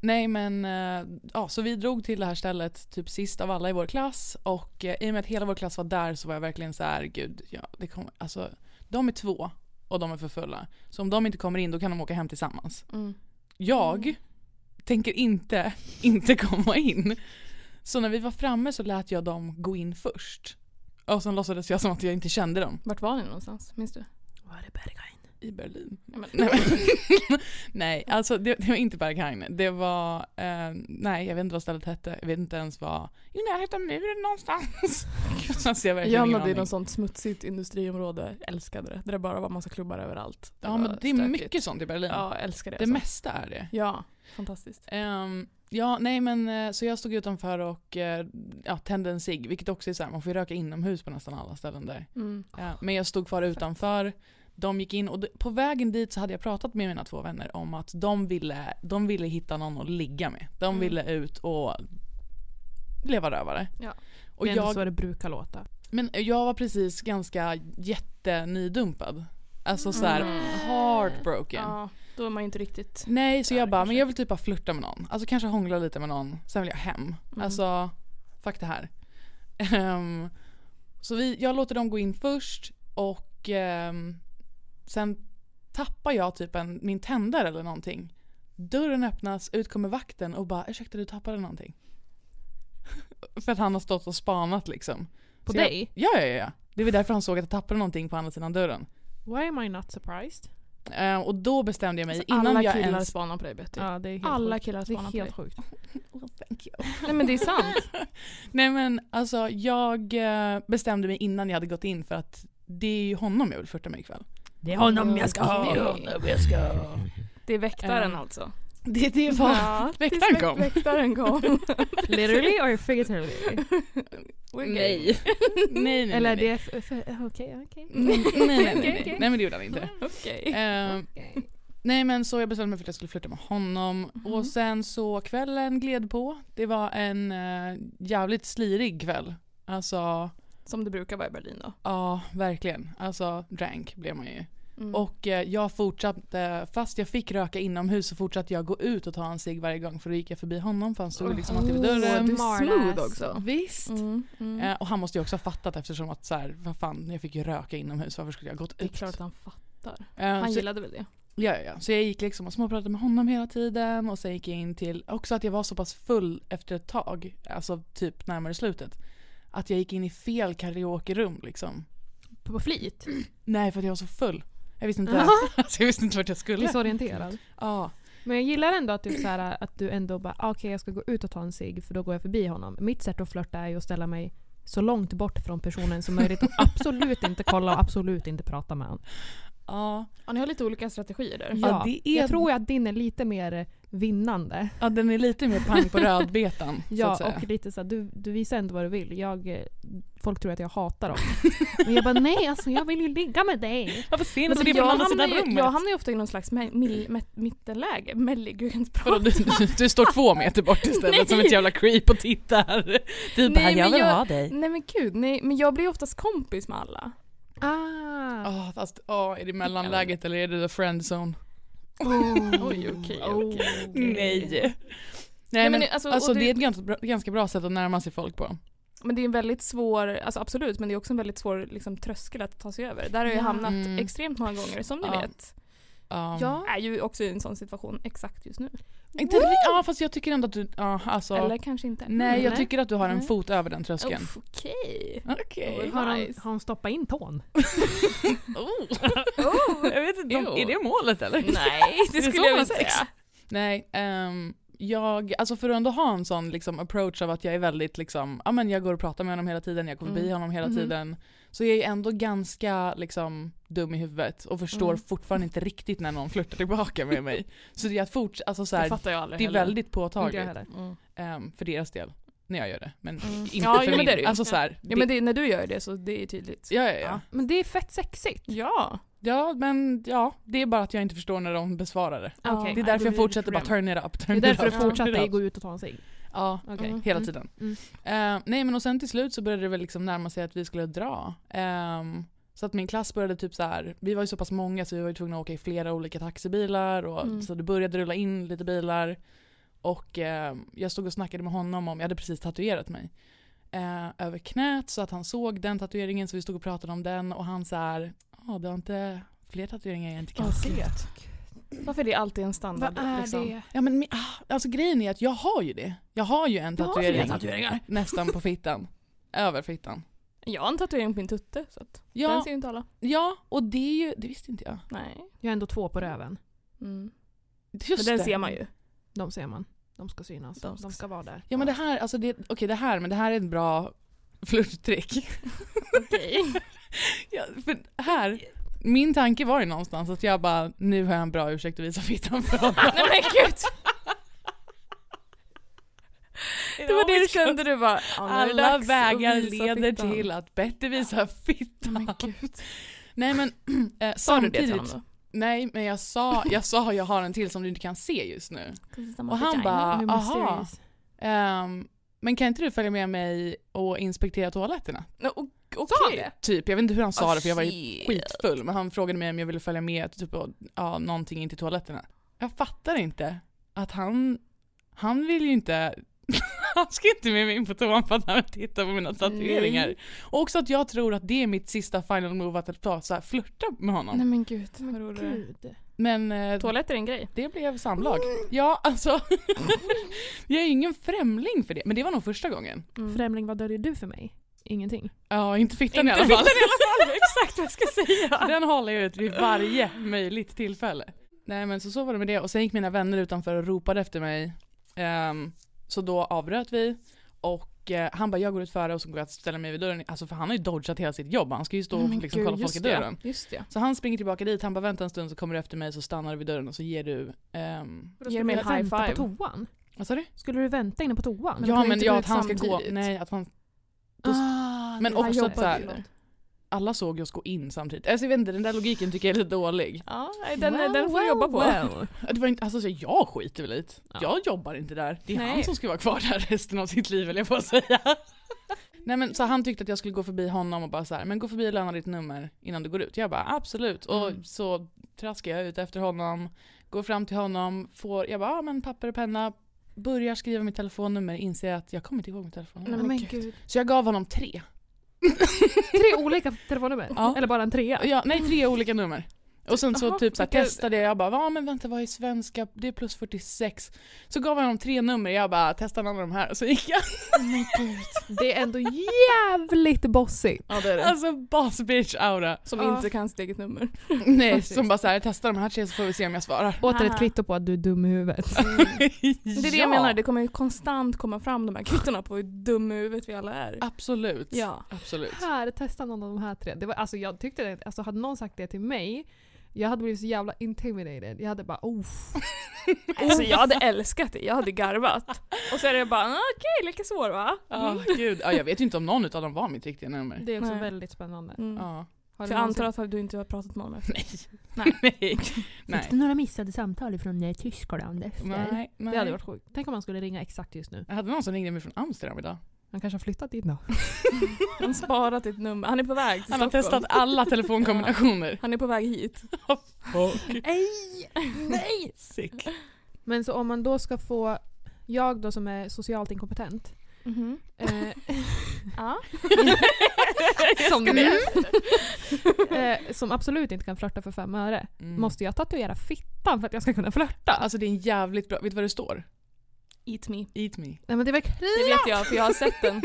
Nej men eh, ja, så vi drog till det här stället typ sist av alla i vår klass och eh, i och med att hela vår klass var där så var jag verkligen så här, gud, ja, det kommer, alltså de är två och de är för fulla. Så om de inte kommer in då kan de åka hem tillsammans.
Mm.
Jag tänker inte, inte komma in. Så när vi var framme så lät jag dem gå in först. Och sen låtsades jag som att jag inte kände dem
Vart var ni någonstans? Minns du?
Var det Berghain?
i Berlin.
Ja, men,
Nej, men- nej alltså det, det var inte Berghain. Det var, eh, nej jag vet inte vad stället hette. Jag vet inte ens vad, i närheten av muren någonstans. alltså jag har
jag
verkligen ingen
hamnade i
aning.
något sånt smutsigt industriområde, jag älskade det. Där det bara var massa klubbar överallt.
Ja
var
men det är
stökigt.
mycket sånt i Berlin.
Ja, jag älskar det.
det
alltså.
mesta är det.
Ja, fantastiskt.
Ehm, ja nej men eh, så jag stod utanför och eh, ja, tände en cigg. Vilket också är så här, man får ju röka inomhus på nästan alla ställen där.
Mm.
Ja, men jag stod kvar utanför. De gick in och d- på vägen dit så hade jag pratat med mina två vänner om att de ville, de ville hitta någon att ligga med. De
Mm.
ville ut och leva rövare.
Ja.
Och
det är ändå
jag,
så det brukar låta.
men jag var precis ganska jättenydumpad. Alltså så här
Mm.
heartbroken.
Ja, då är man ju inte riktigt...
Nej, så
Ja,
jag
det
bara,
kanske.
men jag vill typ bara flirta med någon. Alltså kanske hångla lite med någon, sen vill jag hem.
Mm.
Alltså, fuck det här. Ehm, så vi, jag låter dem gå in först och ehm, sen tappar jag typ en, min tändare eller någonting. Dörren öppnas, ut kommer vakten och bara ursäkta du tappade någonting. För att han har stått och spanat liksom.
På
Så jag-
dig?
Ja, ja, ja, ja. Det var därför han såg att jag tappade någonting på andra sidan dörren.
Why am I not surprised?
Ehm, och då bestämde jag mig
Alltså,
innan
alla
jag
killar
ens...
spanar på typ. dig Betty.
Ja, det är helt
Alla
sjukt.
killar
Det
spanar
är
på dig.
helt sjukt.
Oh, thank you.
Nej men det är sant.
Nej men alltså jag eh, bestämde mig innan jag hade gått in för att det är ju honom jag vill flirta med ikväll.
Det är
honom jag ska ha.
Det är honom jag ska ha.
Det är väktaren
Ehm,
alltså.
Det, det var...
Ja,
väktaren
tills väk-
kom.
Väktaren kom.
Literally or figuratively?
We're gay.
Nej. nej, nej, nej.
Eller
nej.
det... f- f- Okej, okej.
Mm.
Nej, nej,
Okej,
nej,
Mm. okej.
nej. nej men det gjorde han inte.
Okej.
Eh, nej men så jag bestämde mig för att jag skulle flirta med honom
Mm.
och sen så kvällen gled på. Det var en eh, jävligt slirig kväll. Alltså,
Som det brukar vara i Berlin då.
ja verkligen. Alltså drank blev man ju.
Mm.
Och eh, jag fortsatte, fast jag fick röka inomhus så fortsatte jag gå ut och ta en cigg varje gång för då gick jag förbi honom för han stod ju liksom alltid vid
Åh,
dörren.
du är smooth
Smartass.
också.
Visst.
Mm, mm.
Eh, och han måste ju också ha fattat eftersom att så här, vad fan, jag fick ju röka inomhus, varför skulle jag ha gått ut?
det är klart att han fattar.
Eh,
Han
så,
gillade väl det.
ja, ja, ja. så jag gick liksom och småpratade med honom hela tiden och sen gick jag in till, också att jag var så pass full efter ett tag, alltså typ närmare slutet, att jag gick in i fel karaokerum liksom.
På flit?
Nej för att jag var så full. Jag visste inte,
Jaha.
alltså, jag visste inte vart jag skulle.
Desorienterad.
Ja.
Men jag gillar ändå att, typ så här, att du ändå bara ah, okej jag ska gå ut och ta en cigg för då går jag förbi honom. Mitt sätt att flörta är ju att ställa mig så långt bort från personen som möjligt och absolut inte kolla och absolut inte prata med honom.
Ja.
Ja, ni har lite olika strategier där.
Ja, det är-
Jag tror att din är lite mer vinnande.
Ja, den är lite mer pang på rödbetan. så att
Ja,
säga.
och lite så här, du, du visar ändå vad du vill. Jag, eh, folk tror att jag hatar dem. Men jag bara nej alltså jag vill ju ligga med dig.
Varför ser ni
Men
inte
typ,
det från
jag,
andra sidan
hamnar ju,
rummet?
jag hamnar ju ofta i någon slags me- mill- me- mittenläge. Mellig, gud jag kan inte
Vadå,
prata.
du, du, du står två meter bort
Nej.
istället som ett jävla creep och tittar. Du bara,
Nej, men
jag vill
jag-
ha dig.
Nej men gud, nej, men jag blir ju oftast kompis med alla.
Ah.
Ja, fast ja, är det mellanläget eller är det the friend zone?
Oj, Oh, okej,
okej.
Nej.
Nej,
Nej
men
men,
det- alltså,
alltså,
och det-
det är ett ganska bra, ganska bra sätt att närma sig folk på. Um,
Men det är en väldigt svår, alltså absolut, men det är också en väldigt svår liksom, tröskel att ta sig över. Där har jag
Ja.
hamnat
Mm.
extremt många gånger som ni
Ja.
vet.
Um,
Ja.
Är ju också i en sån situation exakt just nu.
Inte, ri- ja fast jag tycker ändå att du, ja alltså.
Eller kanske inte.
Nej jag
Nej.
tycker att du har en
Nej.
fot över den tröskeln.
Uff, Okej.
Okej.
Har han,
Nice.
har han stoppat in tån?
Jag vet inte, om-
Oh. Ew. Mm.
är det målet eller?
Nej, det
så
skulle jag
man
inte
sex?
säga.
Nej, ehm, jag, alltså för att ändå ha en sån liksom approach av att jag är väldigt liksom, ja men jag går och pratar med honom hela tiden, jag går förbi
Mm.
honom hela
Mhm.
tiden. Så jag är ändå ganska liksom dum i huvudet och förstår
Mm.
fortfarande inte riktigt när någon flörtar tillbaka med mig. Så det är att forts- alltså så
Det
här,
fattar jag aldrig
det är
heller.
väldigt
Inte jag
påtagligt
heller.
Mm.
ehm, för deras del när jag gör det. Men
Mm.
inte
Ja, jo,
för
men
min.
det är det ju.
alltså så här,
Ja men det, när du gör det så det är tydligt.
ja, ja, ja.
Men det är fett sexigt.
Ja.
ja men ja, det är bara att jag inte förstår när de besvarar det.
Okej.
Ja.
Det är
Nej,
därför jag
det blir
fortsätter bara
problem.
turn it up,
Det
turn
är
it
därför
up,
du
turn it
fortsatte
up.
gå ut och ta en cigg.
Ja,
Okej.
hela
Mm.
tiden.
Mm.
Eh, nej men och sen till slut så började det väl liksom närma sig att vi skulle dra. Ehm, så att min klass började typ så här, vi var ju så pass många så vi var ju tvungna att åka i flera olika taxibilar och
Mm.
så det började rulla in lite bilar. Och eh, jag stod och snackade med honom om, jag hade precis tatuerat mig. Eh, över knät så att han såg den tatueringen så vi stod och pratade om den och han såhär, ja du har inte fler tatueringar jag inte kan se.
Varför är det alltid en standard?
Vad är
liksom?
det?
Ja men mi- ah, alltså grejen är att jag har ju det. Jag har ju en
Du har
tatuering.
flera tatueringar.
Nästan på fittan. Över fittan.
Jag har en tatuering på min tutte så att den
Ja,
ser ju inte alla.
ja, och det är ju, det visste inte jag.
Nej.
Jag har ändå två på röven.
Mm. Men
Just
den
det.
ser man ju.
De ser man. De ska synas.
De
De
ska
ska, vara där.
Ja men det här, alltså det, okej det här, men det här är ett bra flirttrick.
Okej.
Ja, för här, min tanke var ju någonstans att jag bara, nu har jag en bra ursäkt att visa fittan för honom.
Nej men gud! Det var det du kände du bara. "Ja, nu är det
Alla
dags att
vägar
visa
leder
fittan."
till att Betty visar
Nej,
fittan.
Men gud.
Nej men, eh,
Sa du det till
samtidigt,
honom
nej men jag sa, jag sa jag har en till som du inte kan se just nu.
då?
Och han bara,
Hur
aha.
mysterious.
ehm, men kan inte du följa med mig och inspektera toaletterna?
No, o-
Sa han
Okej.
det? Typ, jag vet inte hur han sa
Ah,
det för jag var ju
shit.
skitfull men han frågade mig om jag ville följa med typ, och, ja, någonting in till toaletterna. Jag fattar inte att han, han vill ju inte, han ska inte med mig in på toan för att han vill titta på mina tatueringar.
Nej.
Och också att jag tror att det är mitt sista final move att ta, så här, flirta med honom.
Nej men gud. vad roligt.
Gud.
Men eh,
Toaletter är en grej.
det blev samlag.
Mm.
Ja alltså, jag är ju ingen främling för det. Men det var nog första gången.
Mm.
Främling, vad döljer du för mig? Ingenting.
Ja, inte fittan i
Inte
alla fall.
fittan i alla fall, exakt vad jag ska säga.
Den håller jag ut vid varje möjligt tillfälle. Nej men så, så var det med det och sen gick mina vänner utanför och ropade efter mig. Ehm, så då avbröt vi och eh, han bara jag går ut före och så går jag att ställa mig vid dörren. Alltså för han har ju dodgat hela sitt jobb, han ska ju stå och
Men
liksom
Mm, gud,
kolla folk
just
i
det.
dörren.
Just det.
Så han springer tillbaka dit, han bara vänta en stund så kommer du efter mig så stannar du vid dörren och så ger du... ehm,
Ge mig en
Skulle du
high
vänta
five.
på toan?
Vad sa du?
Skulle du vänta inne på toan?
ja
kan ju
men
inte
ja
gå
att
ut
han ska gå,
samtidigt.
nej att han,
Ah,
Men
det- han
också
jobbar
så här-
ju då.
alla såg ju oss gå in samtidigt. Alltså jag vet inte, den där logiken tycker jag är lite dålig.
Ja, nej, den,
Well,
den får du
well,
jobba på.
well.
Det var inte, alltså så jag skiter väl i det.
Ja.
Jag jobbar inte där. Det är
Nej.
han som ska vara kvar där resten av sitt liv vill jag på säga. Nej men så han tyckte att jag skulle gå förbi honom och bara så här, men gå förbi och lämna ditt nummer innan du går ut. Jag bara absolut.
Mm.
Och så traskar jag ut efter honom, går fram till honom, får, jag bara ah, men papper och penna, börjar skriva mitt telefonnummer, inser att jag kommer inte ihåg mitt telefonnummer.
Nej,
Nej,
men
men
gud.
gud.
Så jag gav honom tre.
Tre olika telefonnummer?
Ja.
Eller bara en trea?
Ja, nej, tre olika nummer. Och sen så
Jaha,
typ så här,
vilka-
testade jag, jag bara ja men vänta vad är svenska, det är plus 46. Så gav jag honom tre nummer, jag bara testa någon av de här och så gick jag.
Det är ändå jävligt bossigt.
Ja, det är det.
Alltså boss bitch aura.
Som
Ja.
inte kan sitt eget nummer.
Nej,
Precis.
som bara så här, testa de här tre så får vi se om jag svarar.
Åter
Aha.
ett kvitto på att du är dum i huvudet.
Det är det jag menar, det kommer ju konstant komma fram de här kvittorna på hur dumma i huvudet vi alla är.
Absolut.
Ja.
Absolut.
Här, testa någon av de här tre. Det var, alltså, jag tyckte det, alltså, hade någon sagt det till mig, jag hade blivit så jävla intimidated. Jag hade bara oh.
Alltså jag hade älskat det, jag hade garvat. Och så är det bara ah, okej, lika svår va? Mm.
Ja, gud. Ja, jag vet ju inte om någon utav dem var mitt riktiga nummer.
Det är också
Nej.
väldigt spännande.
Mm.
Ja.
Har
Så jag antar att du inte har pratat med honom efter.
Nej.
Nej.
Nej. Nej.
några missade samtal från Tyskland
Nej.
Det hade varit sjukt. Tänk om man skulle ringa exakt just nu.
Jag hade någon som ringde mig från Amsterdam idag.
Han kanske har flyttat in då.
Han sparat ditt nummer, han är på väg till
Han har
Stockholm.
testat alla telefonkombinationer.
Han är på väg hit. Nej! Nej!
Sick.
Men så om man då ska få, jag då som är socialt inkompetent.
Mhm.
Eh,
Ja.
som, eh, som absolut inte kan flörta för fem öre.
Mm.
Måste jag tatuera fittan för att jag ska kunna flörta?
borta. Alltså det är en jävligt bra, vet du vad det står?
Eat me.
Eat me.
Nej men det var klart!
Det vet jag för jag har sett den.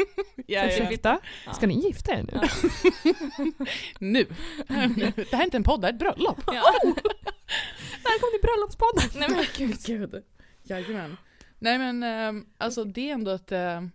Ja,
Kanske
ja, ja.
fitta. Ja.
Ska ni gifta er nu?
Ja.
Nu. det här är inte en podd, det här är ett bröllop.
Ja.
Välkommen till bröllopspodden!
Nej men gud.
Gud. Jajamän. Nej men ehm, alltså det är ändå ett, ehm,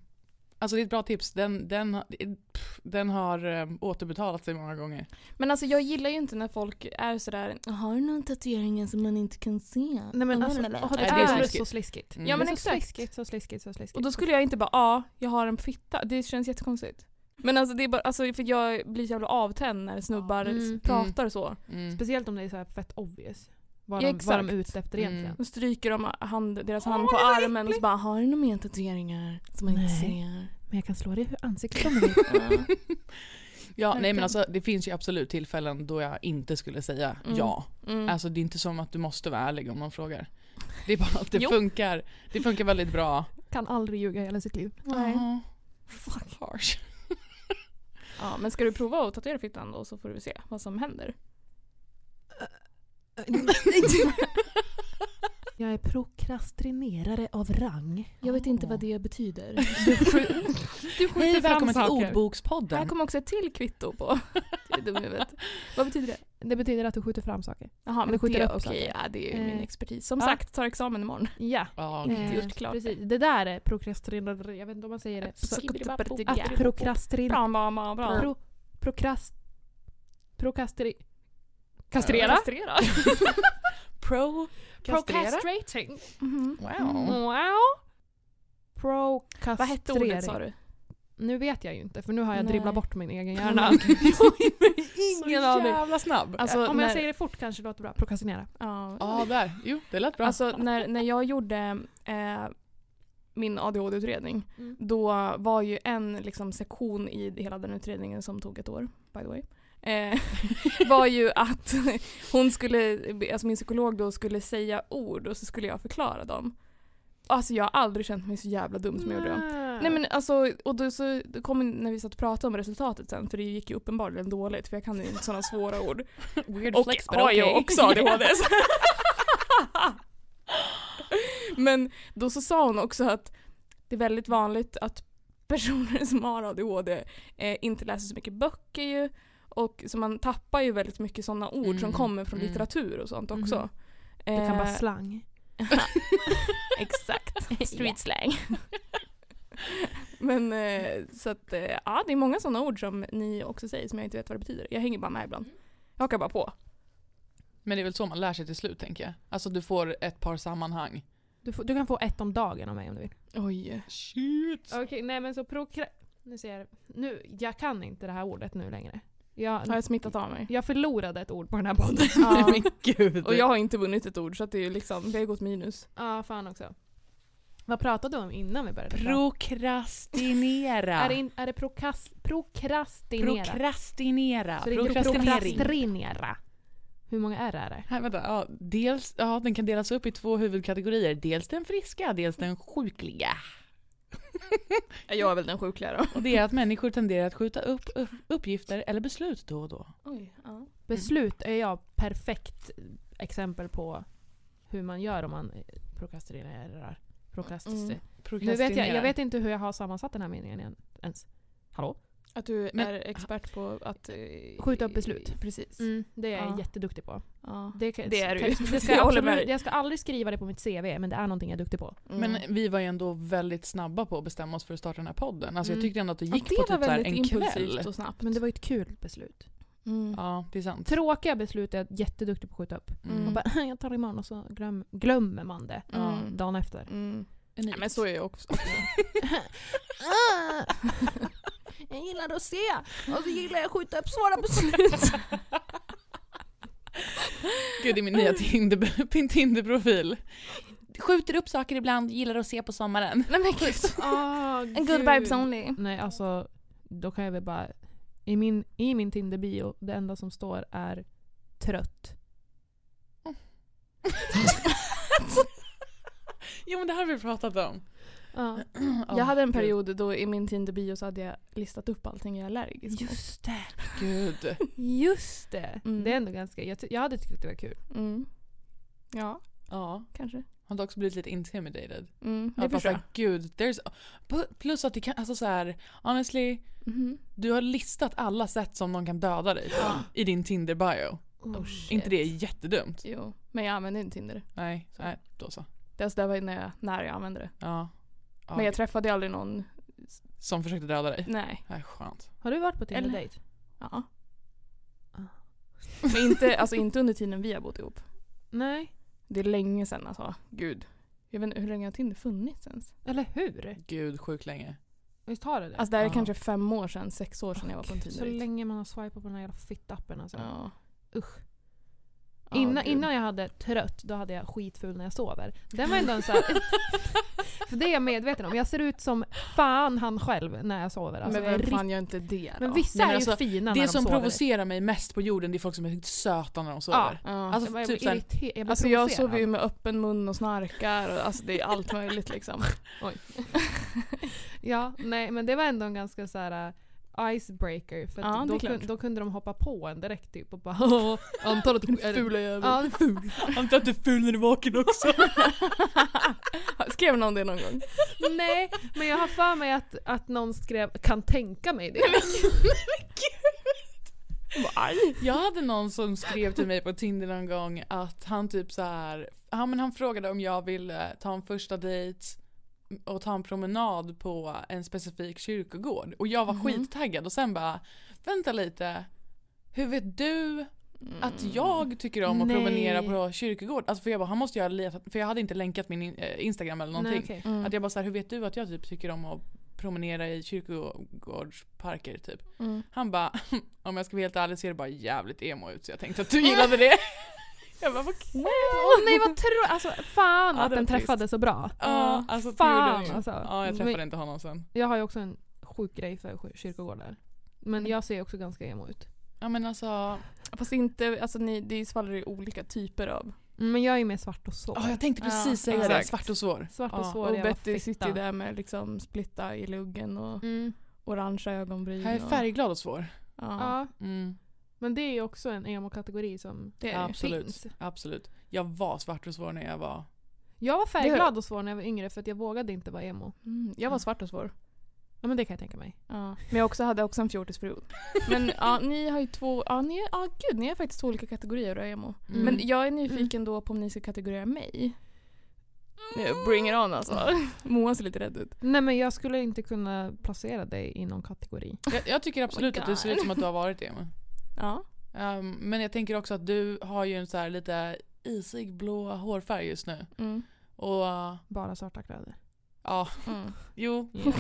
alltså det är ett bra tips. Den, den, har- pff, den har ehm, återbetalat sig många gånger.
Men alltså jag gillar ju inte när folk är sådär Har du någon tatuering som man inte kan se?
Nej men alltså,
Lalalala."
åh, det,
Nej,
är
det är
så
sliskigt.
sliskigt. Så sliskigt.
Mm.
Ja, men
det är så
exakt.
sliskigt, så sliskigt, så sliskigt.
Och då skulle jag inte bara ja, jag har en fitta. Det känns jättekonstigt. Men alltså det är bara, alltså för jag blir så jävla avtänd när snubbar
Mm.
s- pratar så.
Mm.
Speciellt om det är så här fett obvious. Vad,
Ja,
de, vad de
exakt.
är ute efter
Mm.
egentligen.
Då stryker de hand, deras hand
Åh,
på
det var
armen och så
äckligt.
bara har du några mer tatueringar som man inte
Nej.
ser?
Men jag kan slå dig i ansiktet om du vill.
Ja.
Ja, nej men
Verkligen.
alltså det finns ju absolut tillfällen då jag inte skulle säga
Mm.
ja.
Mm.
Alltså det är inte som att du måste vara ärlig om någon frågar. Det är bara att det
Jo.
funkar. Det funkar väldigt bra.
Kan aldrig ljuga i hela sitt liv.
Ja. Fuck harsh.
Ja, men ska du prova att tatuera fittan då så får du se vad som händer.
Jag är prokrastinerare av rang.
Jag vet inte
Ah.
vad det betyder. Du, skj- du skjuter
Hej
fram
välkommen till
saker.
Ordbokspodden.
Här kommer också ett till kvitto på. Det är dum i huvudet. Vad betyder det?
Det betyder att du skjuter fram saker.
Jaha,
Du
men
skjuter
det,
upp
okej,
saker.
ja, det är ju
Eh.
min expertis. Som
Ja.
sagt, tar examen imorgon.
Ja.
Ja,
Okej.
Eh,
Gjort klart.
Precis. Det där är prokrastinerare. Jag vet inte om man säger det. Att prokrastinera.
Bra, bra, bra. bra.
Pro, prokrast... Prokastri...
Kastrera.
Pro... Kastrera?
Procastrating.
Mhm.
Mm.
Wow.
Wow. Prokastrering.
Vad hette ordet sa du?
Nu vet jag ju inte för nu har jag
Nej.
dribblat bort min egen hjärna.
Ingen aning. Så jävla snabb.
Alltså,
Om
när,
jag säger det fort kanske det låter bra. Prokrastinera.
ja,
Ja, där. Jo, det lät bra.
Alltså när, när jag gjorde eh, min ADHD-utredning
Mm.
då var ju en liksom, sektion i hela den utredningen som tog ett år, by the way. Eh, var ju att hon skulle, alltså min psykolog då skulle säga ord och så skulle jag förklara dem. Alltså jag har aldrig känt mig så jävla dum som jag gjorde då. Nej men alltså, och då, så, då kom när vi satt och pratade om resultatet sen för det gick ju uppenbarligen dåligt för jag kan ju inte sådana svåra ord.
Weird
Och
flex,
har jag också ADHD. Men då så sa hon också att det är väldigt vanligt att personer som har ADHD eh, inte läser så mycket böcker ju. Och så man tappar ju väldigt mycket sådana ord som
Mm,
kommer från
mm.
litteratur och sånt också. Eh,
Mhm. Det kan vara slang.
Exakt. Street slang. Men eh, så att eh, ja, det är många sådana ord som ni också säger som jag inte vet vad det betyder. Jag hänger bara med ibland.
Mm.
Jag hakar bara på.
Men det är väl så man lär sig till slut, tänker jag. Alltså du får ett par sammanhang.
Du, får, du kan få ett om dagen av mig om du vill.
Oj.
Shit.
Okej, nej men så prokra... Nu ser jag nu, Jag kan inte det här ordet nu längre.
Har
Jag,
jag smittat av mig?
jag förlorade ett ord på den här podden.
Ja.
Men gud.
Och jag har inte vunnit ett ord så att det är ju liksom, det har gått minus.
Ja, fan också. Vad pratade du om innan vi började? prata?
Prokrastinera.
Är det, in, är det prokas, prokrastinera?
Prokrastinera.
Så det är inte prokrastinera. Hur många R är det?
Här, vänta. Ja, dels, ja, den kan delas upp i två huvudkategorier. Dels den friska, dels den sjukliga.
Jag är väl den sjukliga då.
Och det är att människor tenderar att skjuta upp upp- uppgifter eller beslut då och då.
Oj, ja.
Beslut är jag perfekt exempel på hur man gör om man prokrastinerar. Prokrastinerar.
Mm.
Nu vet jag, jag vet inte hur jag har sammansatt den här meningen igen, ens. Hallå?
Att du
Men-
är expert på att... eh,
Skjuta upp beslut.
Precis.
Mm, det är jag
Ja.
jätteduktig på.
Ja.
Det, kan,
Det är du.
kan- Det ska
Jag
jag,
håller med
absolut,
dig.
jag ska aldrig skriva det på mitt CV, men det är någonting jag är duktig på.
Mm.
Men vi var ju ändå väldigt snabba på att bestämma oss för att starta den här podden. Alltså jag
Mm.
tyckte ändå att det
Ja,
gick
det
på
var
typ så här
väldigt
en
impulsivt
kväll.
och snabbt.
Men det var ju ett kul beslut.
Mm.
Ja, det är sant.
Tråkiga beslut är jag jätteduktig på att skjuta upp.
Mm.
Man bara, jag tar det imorgon och så glöm, glömmer man det
Mm.
ja, dagen efter.
Mm.
Unikt.
Ja, men så är jag också.
Ah! jag gillar att se och så gillar jag att skjuta upp svåra beslut.
Gud, det är min nya Tinder- min Tinder-profil. Skjuter upp saker ibland, gillar att se på sommaren.
Nej men gud.
Ah,
Good
gud.
vibes only.
Nej alltså, då kan jag väl bara... I min, i min Tinder-bio, det enda som står är trött.
jo men det här har vi pratat om.
Ja.
Mm. Jag hade en period då i min Tinder-bio så hade jag listat upp allting jag är allergisk mot.
Just det.
Gud.
Just det.
Mm.
Det är ändå ganska... Jag, ty- jag hade tyckt det var kul.
Mm. Ja,
Ja.
kanske.
Har dock blivit lite intimidated.
Mm, det
Jag bara
förstår jag.
såhär, gud, there's... Pu- Plus att det kan, alltså såhär, honestly,
Mhm.
du har listat alla sätt som någon kan döda dig på i din Tinder-bio.
Oh,
inte det är jättedumt?
Jo, men jag använder inte Tinder.
Nej, nej, då så.
Det, alltså, det var när jag, när jag använde det.
Ja. ja.
Men jag Mm. träffade aldrig någon.
Som försökte döda dig?
Nej.
Nej, skönt.
Har du varit på
Eller-
Tinder-dejt?
Ja.
Ah.
Men inte, alltså, inte under tiden vi har bott ihop.
Nej.
Det är länge sedan alltså. Gud. Jag vet inte, hur länge har Tinder funnits ens?
Eller hur?
Gud, sjukt länge.
Visst har det det?
Alltså det här är
Ja.
kanske fem år sedan, sex år sedan jag var på en
så
Tinder.
länge man har swipat på den här jävla fittappen alltså.
Ja.
Usch. Innan,
gud.
innan jag hade trött, då hade jag skitful när jag sover. Den var ändå en så här, För det är jag medveten om. Jag ser ut som fan han själv när jag sover. Alltså,
men
jag är
vem
rikt-
fan gör inte det då?
men vissa
Nej, men
är ju
alltså,
fina när
Det
de
som
sover.
provocerar mig mest på jorden det är folk som är söta när de sover.
Ja.
Alltså,
Jag bara- jag
typ
blir
såhär-
irriterad. Jag blir
Alltså jag
provocerad.
sover ju med öppen mun och snarkar och alltså det är allt möjligt liksom.
Ja, nej men det var ändå en ganska så här äh, icebreaker för att
Ja, det är
då,
klart.
kun, då kunde de hoppa på en direkt typ och bara "Haha, antar att du är
Fula jävel.
Ja, en ful.
Antar att du är ful när du är vaken också.
Skrev någon det någon gång?
Nej, men jag har för mig att, att någon skrev “kan tänka mig det”.
Jag hade någon som skrev till mig på Tinder någon gång att han typ så här, han, men han frågade om jag ville ta en första dejt och ta en promenad på en specifik kyrkogård. Och jag var
Mhm.
skittaggad och sen bara, vänta lite. Hur vet du att
Mm.
jag tycker om att
Mm. Nej.
promenera på kyrkogård? Alltså för jag bara, han måste ju ha letat, för jag hade inte länkat min in- eh, Instagram eller någonting.
Nej, okej.
Mm.
Att jag bara så här, hur vet du att jag typ tycker om att promenera i kyrkogårdsparker typ?
Mm.
Han bara, om jag ska vara helt ärlig ser det bara jävligt emo ut så jag tänkte att du gillade det. jag bara, okej.
Åh nej vad tråkigt! Alltså fan
Ja,
att
det
den
var trist.
träffade så bra.
Ja, alltså det gjorde
fan
den ju.
alltså.
Ja, jag träffade
Men
inte honom sen.
jag har ju också en sjuk grej för kyr- kyrkogårdar. Men jag ser också ganska emo ut.
Ja men alltså, ja
Fast inte, alltså ni, det faller i olika typer av.
Mm, Men jag är ju mer svart och sår.
jag tänkte
Ja,
precis säga det,
exakt.
svart och svår.
Svart och
Ja.
sår
Och
jävla
Betty
fitta.
sitter ju där med liksom splitta i luggen och
Mm.
orangea ögonbryn.
Jag är
och-
färgglad och svår.
Ja,
Ja.
Mm,
Men det är ju också en emo-kategori som
det är det.
absolut.
finns.
absolut. Jag var svart och svår när jag var...
Jag var färgglad och svår när jag var yngre för att jag vågade inte vara emo.
Mm, jag var svart och svår.
Ja men det kan jag tänka mig.
Ja. Men jag också hade också en fjortisperiod. Men ja, ni har ju två, ja, ni är, ja gud ni är faktiskt två olika kategorier av emo.
Mm.
Men jag är nyfiken då på om ni ska kategorera mig. Nu, Bring it on alltså. Moa ser lite rädd ut.
Nej men jag skulle inte kunna placera dig i någon kategori.
Jag, jag tycker absolut
my
att du ser ut
God.
som att du har varit emo.
Ja.
Ehm, men jag tänker också att du har ju en så här lite isig blå hårfärg just nu.
Mm.
Och eh,
Bara svarta kläder.
ja,
Mm.
jo.
Ja.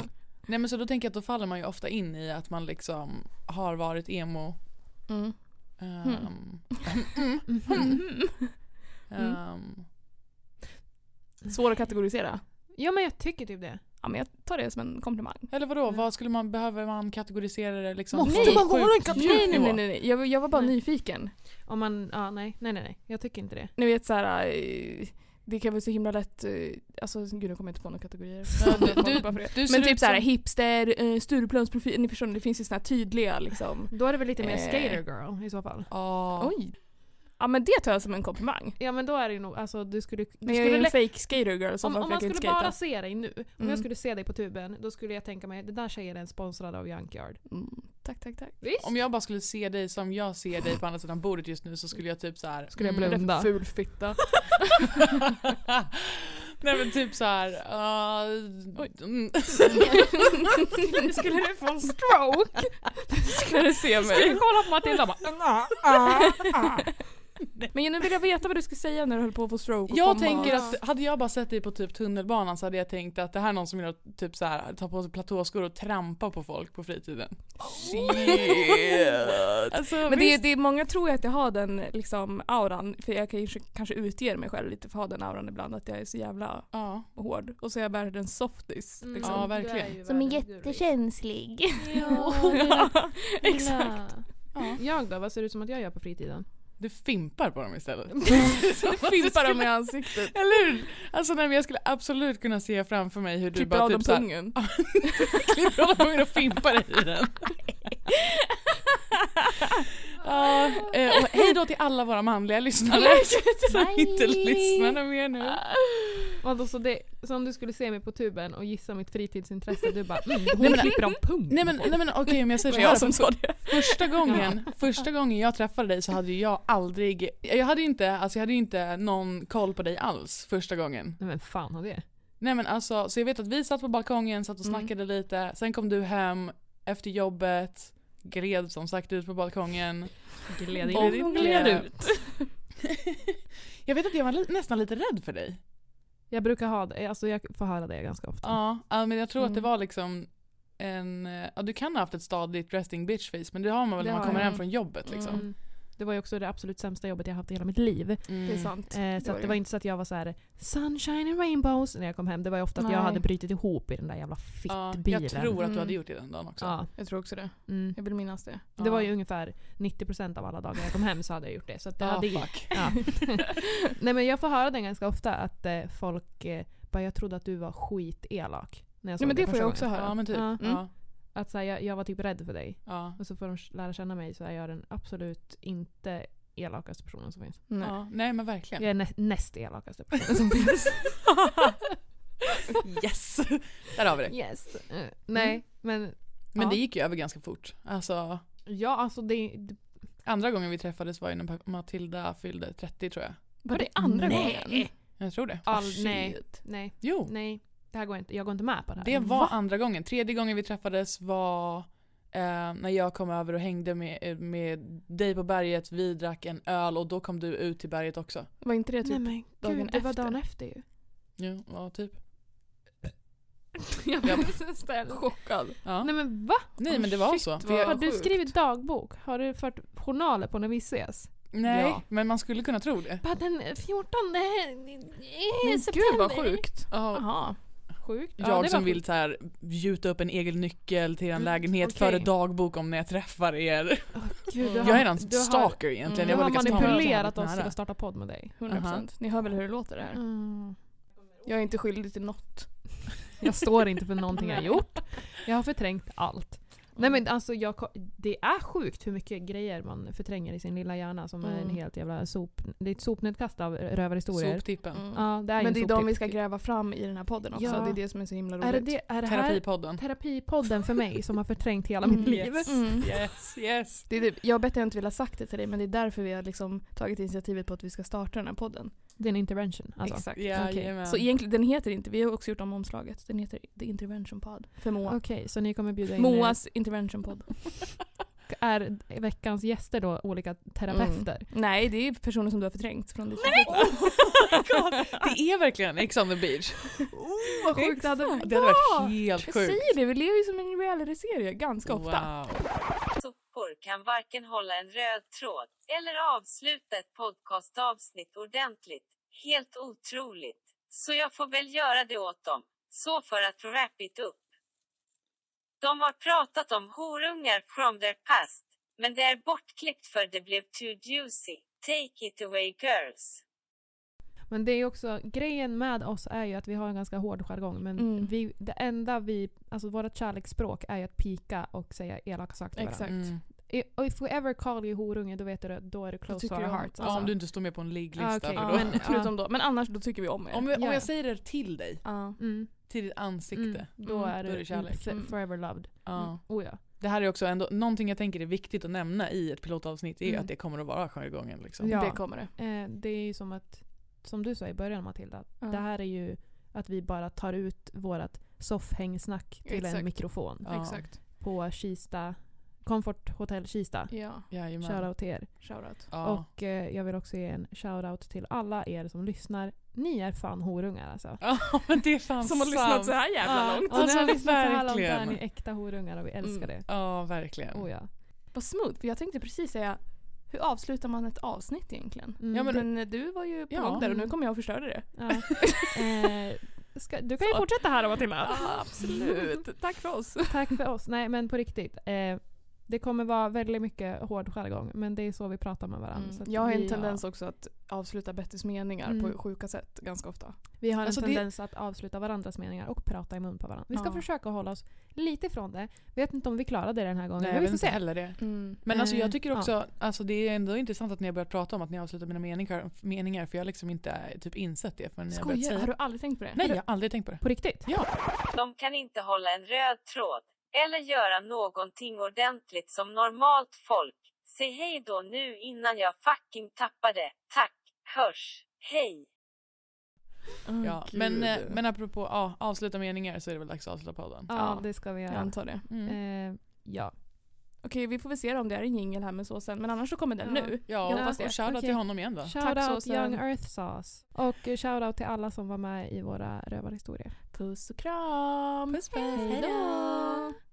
Nej men så då tänker jag att då faller man ju ofta in i att man liksom har varit emo.
Mm.
ehm,
Mhm.
Mm.
ehm,
Svår att kategorisera.
Ja men jag tycker typ det.
Ja, men jag tar det som en komplimang.
Eller vadå, vad skulle man, behöver man kategorisera det liksom?
Måste
på
man vara
sjukt
en
djup
kategori?
Nej, nej,
nivå?
nej, nej. Jag, jag var bara
Nej.
nyfiken.
Om man, ja nej, nej nej nej. Jag tycker inte det.
Ni vet så här, eh, det kan väl så himla lätt, eh, alltså gud nu kommer jag inte på några kategorier.
Men du-
Jag bara för det.
du ser
men
ut
typ så här
som-
hipster, eh, Stureplansprofil, ni förstår, det finns ju såna här tydliga liksom.
Då är det väl lite mer
Eh.
skater girl i så fall.
Ja.
Oj. Ja men det tar jag som en komplimang.
Ja men då är det ju nog, alltså du skulle... Du
Men jag är
skulle
ju en
lä-
fake skater girl som
om,
bara
om man
försöker
skulle
skata.
bara se dig nu, om
Mm.
jag skulle se dig på tuben, då skulle jag tänka mig den där tjejen är sponsrad av Junkyard.
Mm, tack, tack, tack.
Visst?
Om jag bara skulle se dig som jag ser dig på andra sidan bordet just nu så skulle jag typ så här.
Skulle jag
Mm,
blunda?
det är Ful fitta.
Nej men typ så här. Uh, mm.
skulle du få en stroke?
När du ser
Skulle
mig.
du kolla på Matilda och bara ah."
Ah, Men nu vill jag veta vad du skulle säga när du höll på att få stroke. och
Jag
komma.
tänker att hade jag bara sett dig på typ tunnelbanan så hade jag tänkt att det här är någon som gör typ så här, tar på sig platåskor och trampar på folk på fritiden. Alltså,
Men det, är- det är många tror ju att jag har den liksom auran, för jag kanske, kanske utger mig själv lite för att ha den auran ibland att jag är så jävla
Ja.
hård. Och så är jag världens softis.
Mm,
Liksom.
Ja, verkligen.
Som är jättekänslig.
Ja,
Exakt.
exakt. Jag då, vad ser det ut som att jag gör på fritiden?
Du fimpar på dem istället.
Fimpar dem i ansiktet.
Eller hur? Alltså nej, men jag skulle absolut kunna se framför mig hur du
Klipper
bara
av
typ
dem
så här,
pungen.
klipper av dem pungen och fimpar dig i den. Ja, eh, och hej då till alla våra manliga lyssnare som inte lyssnade mer nu.
Alltså, så det, så om du skulle se mig på tuben och gissa mitt fritidsintresse, du bara mm, hon
Nej, men-
klipper av pung.
Nej men, nej, men okej om jag säger så
Det var
här.
jag som sa det.
Första gången, första gången jag träffade dig så hade ju jag aldrig, jag hade ju inte, alltså jag hade ju inte någon koll på dig alls första gången.
Nej men fan har det?
Nej men alltså, så jag vet att vi satt på balkongen, satt och
Mm.
snackade lite, sen kom du hem efter jobbet, gled som sagt ut på balkongen.
Gled
Och-
gled ut.
jag vet att jag var li- nästan lite rädd för dig.
Jag brukar ha det, alltså jag får höra det ganska ofta.
Ja, ja, men jag tror att det
Mm.
var liksom en, eh, ja du kan ha haft ett stadigt resting bitch face men det har man väl
Det
när man
har
kommer
jag.
hem från jobbet liksom.
Mm. Det var ju också det absolut sämsta jobbet jag haft i hela mitt liv.
Mm.
Det är sant.
Eh, så
var
att det
det.
var inte så att jag var så här sunshine and rainbows när jag kom hem. Det var ju ofta att
Nej.
jag hade brutit ihop i den där jävla
Ja,
fittbilen.
jag tror att du hade
Mm.
gjort det den dagen också.
Ja,
Jag tror också det.
mm.
Jag vill minnas det.
Det var ju ungefär 90% av alla dagar jag kom hem så hade jag gjort det. Så att det
ah,
hade ju
fuck.
Ja. Nej men jag får höra den ganska ofta att eh, folk eh, bara jag trodde att du var skitelak. När jag såg
Nej men
dig
det får
första
jag också
gången.
höra.
Ja men typ.
Ja. mm.
Ja.
Att så här, jag, jag var typ rädd för dig.
Ja.
Och så får de sh- lära känna mig så är jag den absolut inte elakaste personen som finns.
Nej.
Ja. Nej men verkligen.
Jag är nä- näst elakaste personen som finns.
yes! Där har vi det.
yes. Eh, Nej men
Men
Ja.
det gick ju över ganska fort. Alltså,
ja alltså det, det
andra gången vi träffades var ju när Pa- Matilda fyllde 30 tror jag.
Var det andra
Nej.
gången?
Jag tror det.
all, nej, nej,
Jo,
nej. Det här går inte, jag går inte med på det här.
det var andra gången. Tredje gången vi träffades var eh, när jag kom över och hängde med, eh, med dig på berget. Vi drack en öl och då kom du ut till berget också.
Var inte det typ
Nej men
dagen
gud, det var
efter.
dagen efter ju.
Jo, ja typ.
jag
Japp.
blev så ställd.
chockad?
Ja. Nej,
Nej men va?
men det var
shit,
så.
vad-
För jag,
Har du
sjukt.
skrivit dagbok? Har du fört journaler på när vi ses?
nej,
Ja.
men man skulle kunna tro det.
Bara den 14
Men
september.
gud vad sjukt.
Ja.
Jaha.
Sjukt. Ja,
Jag
det var
som vill
sjukt.
så här, gjuta upp en egen nyckel till en
Mm,
lägenhet
okej.
före dagbok om när jag träffar er.
Gud, du
Jag
har-
är en
du har- mm.
stalker egentligen.
Du
Jag var
har
lika stalker som
manipulerat
jag
oss
var
till
nära.
att starta podd med dig.
100%.
Aha.
Ni hör väl hur det låter det här?
Mm.
Jag är inte skyldig till något.
Jag står inte för någonting jag har gjort. Jag har förträngt allt. Nej men alltså jag, ko- det är sjukt hur mycket grejer man förtränger i sin lilla hjärna som är en
Mm.
helt jävla sop... Det är ett sopnedkast av rövarhistorier.
Soptippen.
Mm.
Ja, det är ju
Men
en
det är de
soptipp.
vi ska gräva fram i den här podden också.
Ja.
Det är det som är så himla roligt.
Är det, det, är det här
Terapipodden.
terapipodden för mig som har förträngt hela
Mm.
mitt liv?
Mm.
Yes, yes.
Det är det. Jag vet att jag inte vill ha sagt det till dig men det är därför vi har liksom tagit initiativet på att vi ska starta den här podden.
Det är en intervention alltså.
Exakt.
Jajamän.
Så egentligen, den heter inte, vi har också gjort om omslaget, den heter The Intervention Pod för Moa.
Okej, så ni kommer bjuda in...
Moas eh, Intervention Pod.
Är veckans gäster då olika
Mm.
terapeuter?
Mm. Nej, det är personer som du har förträngt från ditt
Det är verkligen Ex on the beach.
Oh, vad sjukt det hade varit.
Det hade varit helt
Jag
sjukt.
säger det, vi lever ju som en reality-serie ganska ofta.
Wow.
Sopor kan varken hålla en röd tråd eller avsluta ett podcastavsnitt ordentligt. Helt otroligt. Så jag får väl göra det åt dem. Så för att wrap it up. De har pratat om horungar from their past. Men det är bortklippt för det blev too juicy. Take it away girls.
Men det är ju också, grejen med oss är ju att vi har en ganska hård jargong men
Mm.
vi, det enda vi, alltså vårt kärleksspråk är ju att pika och säga elaka saker till varandra.
Exakt.
Mm.
I- Och if we ever call you horunge då vet du det, då är du close to
tycker
our
jag om-
hearts.
Ja, om du inte står med på en ligglista.
Alltså. Ah, okej.
för
Ja,
då.
Men- ja.
förutom då. Men annars då tycker vi om er.
om, jag, om
Ja.
jag säger det till dig,
Ja.
mm,
till ditt ansikte.
mm, då
Mm,
är
då
du
är det kärlek.
f- forever loved.
Ja.
Oh, ja.
Det här är också ändå, någonting jag tänker är viktigt att nämna i ett pilotavsnitt är ju
Mm.
att det kommer att vara jargongen. Liksom.
Ja.
Det kommer det.
Eh, det är ju som att, som du sa i början Matilda,
Ja.
det här är ju att vi bara tar ut vårt soffhängsnack till en
Exakt.
mikrofon
Ja.
Exakt.
på Kista, Comfort Hotel Kista.
Ja,
Jajamän.
Shoutout till er.
shoutout.
Ja.
Och eh, jag vill också ge en shoutout till alla er som lyssnar. Ni är fan horungar alltså.
Ja, men det är fan
Som har lyssnat
sant.
så här jävla långt.
Om ni
Alltså,
har lyssnat så här långt är
verkligen.
ni äkta horungar och vi älskar
Mm.
det.
Ja, verkligen.
Oh, ja.
Vad smooth, för jag tänkte precis säga hur avslutar man ett avsnitt egentligen?
Mm.
Ja, men-
Men eh, du var ju på
Ja.
gång där och nu kommer jag och förstörde det.
Ja. Eh, ska, du kan ju fortsätta här då Matilda.
Ah, absolut. Tack för oss.
Tack för oss. Nej men på riktigt. Eh, det kommer vara väldigt mycket hård jargong men det är så vi pratar med varandra. Mm, Så att
Mm. Jag har
vi,
en tendens också att avsluta Bettys meningar
Mm.
på sjuka sätt ganska ofta.
vi har en
Alltså, det-
tendens att avsluta varandras meningar och prata i mun på varandra. Vi ska
Ja.
försöka hålla oss lite ifrån det. Vet inte om vi klarar det den här gången
Nej, jag
men vi
vet
får
inte
se.
heller det. Men alltså
Eh,
jag tycker
ja.
också, alltså det är ändå intressant att ni har börjat prata om att ni avslutar mina meningar, meningar för jag har liksom inte typ insett det förrän ni har börjat
Skojar
säga
Har
det.
du aldrig tänkt på det?
Nej, jag har aldrig tänkt på det.
På riktigt?
De kan inte hålla en röd tråd eller göra någonting ordentligt som normalt folk. Säg hej då nu innan jag fucking tappar det. Tack, hörs, hej!
Åh,
Ja.
gud.
Men, eh, men apropå ja, avsluta meningar så är det väl dags att avsluta podden.
Ja,
Ja.
det ska vi
Jag
göra.
antar det.
Mm.
Eh, ja.
Okej, vi får väl se om det är en jingel här med såsen. Men annars så kommer den
Ja.
nu.
Ja,
jag
och-
hoppas det.
och shoutout
Okej.
till honom igen då.
Tack,
Shoutout
såsen.
Young Earth Sauce. Och eh, shoutout till alla som var med i våra rövarhistorier.
Puss och kram!
Puss, puss.
Hej då!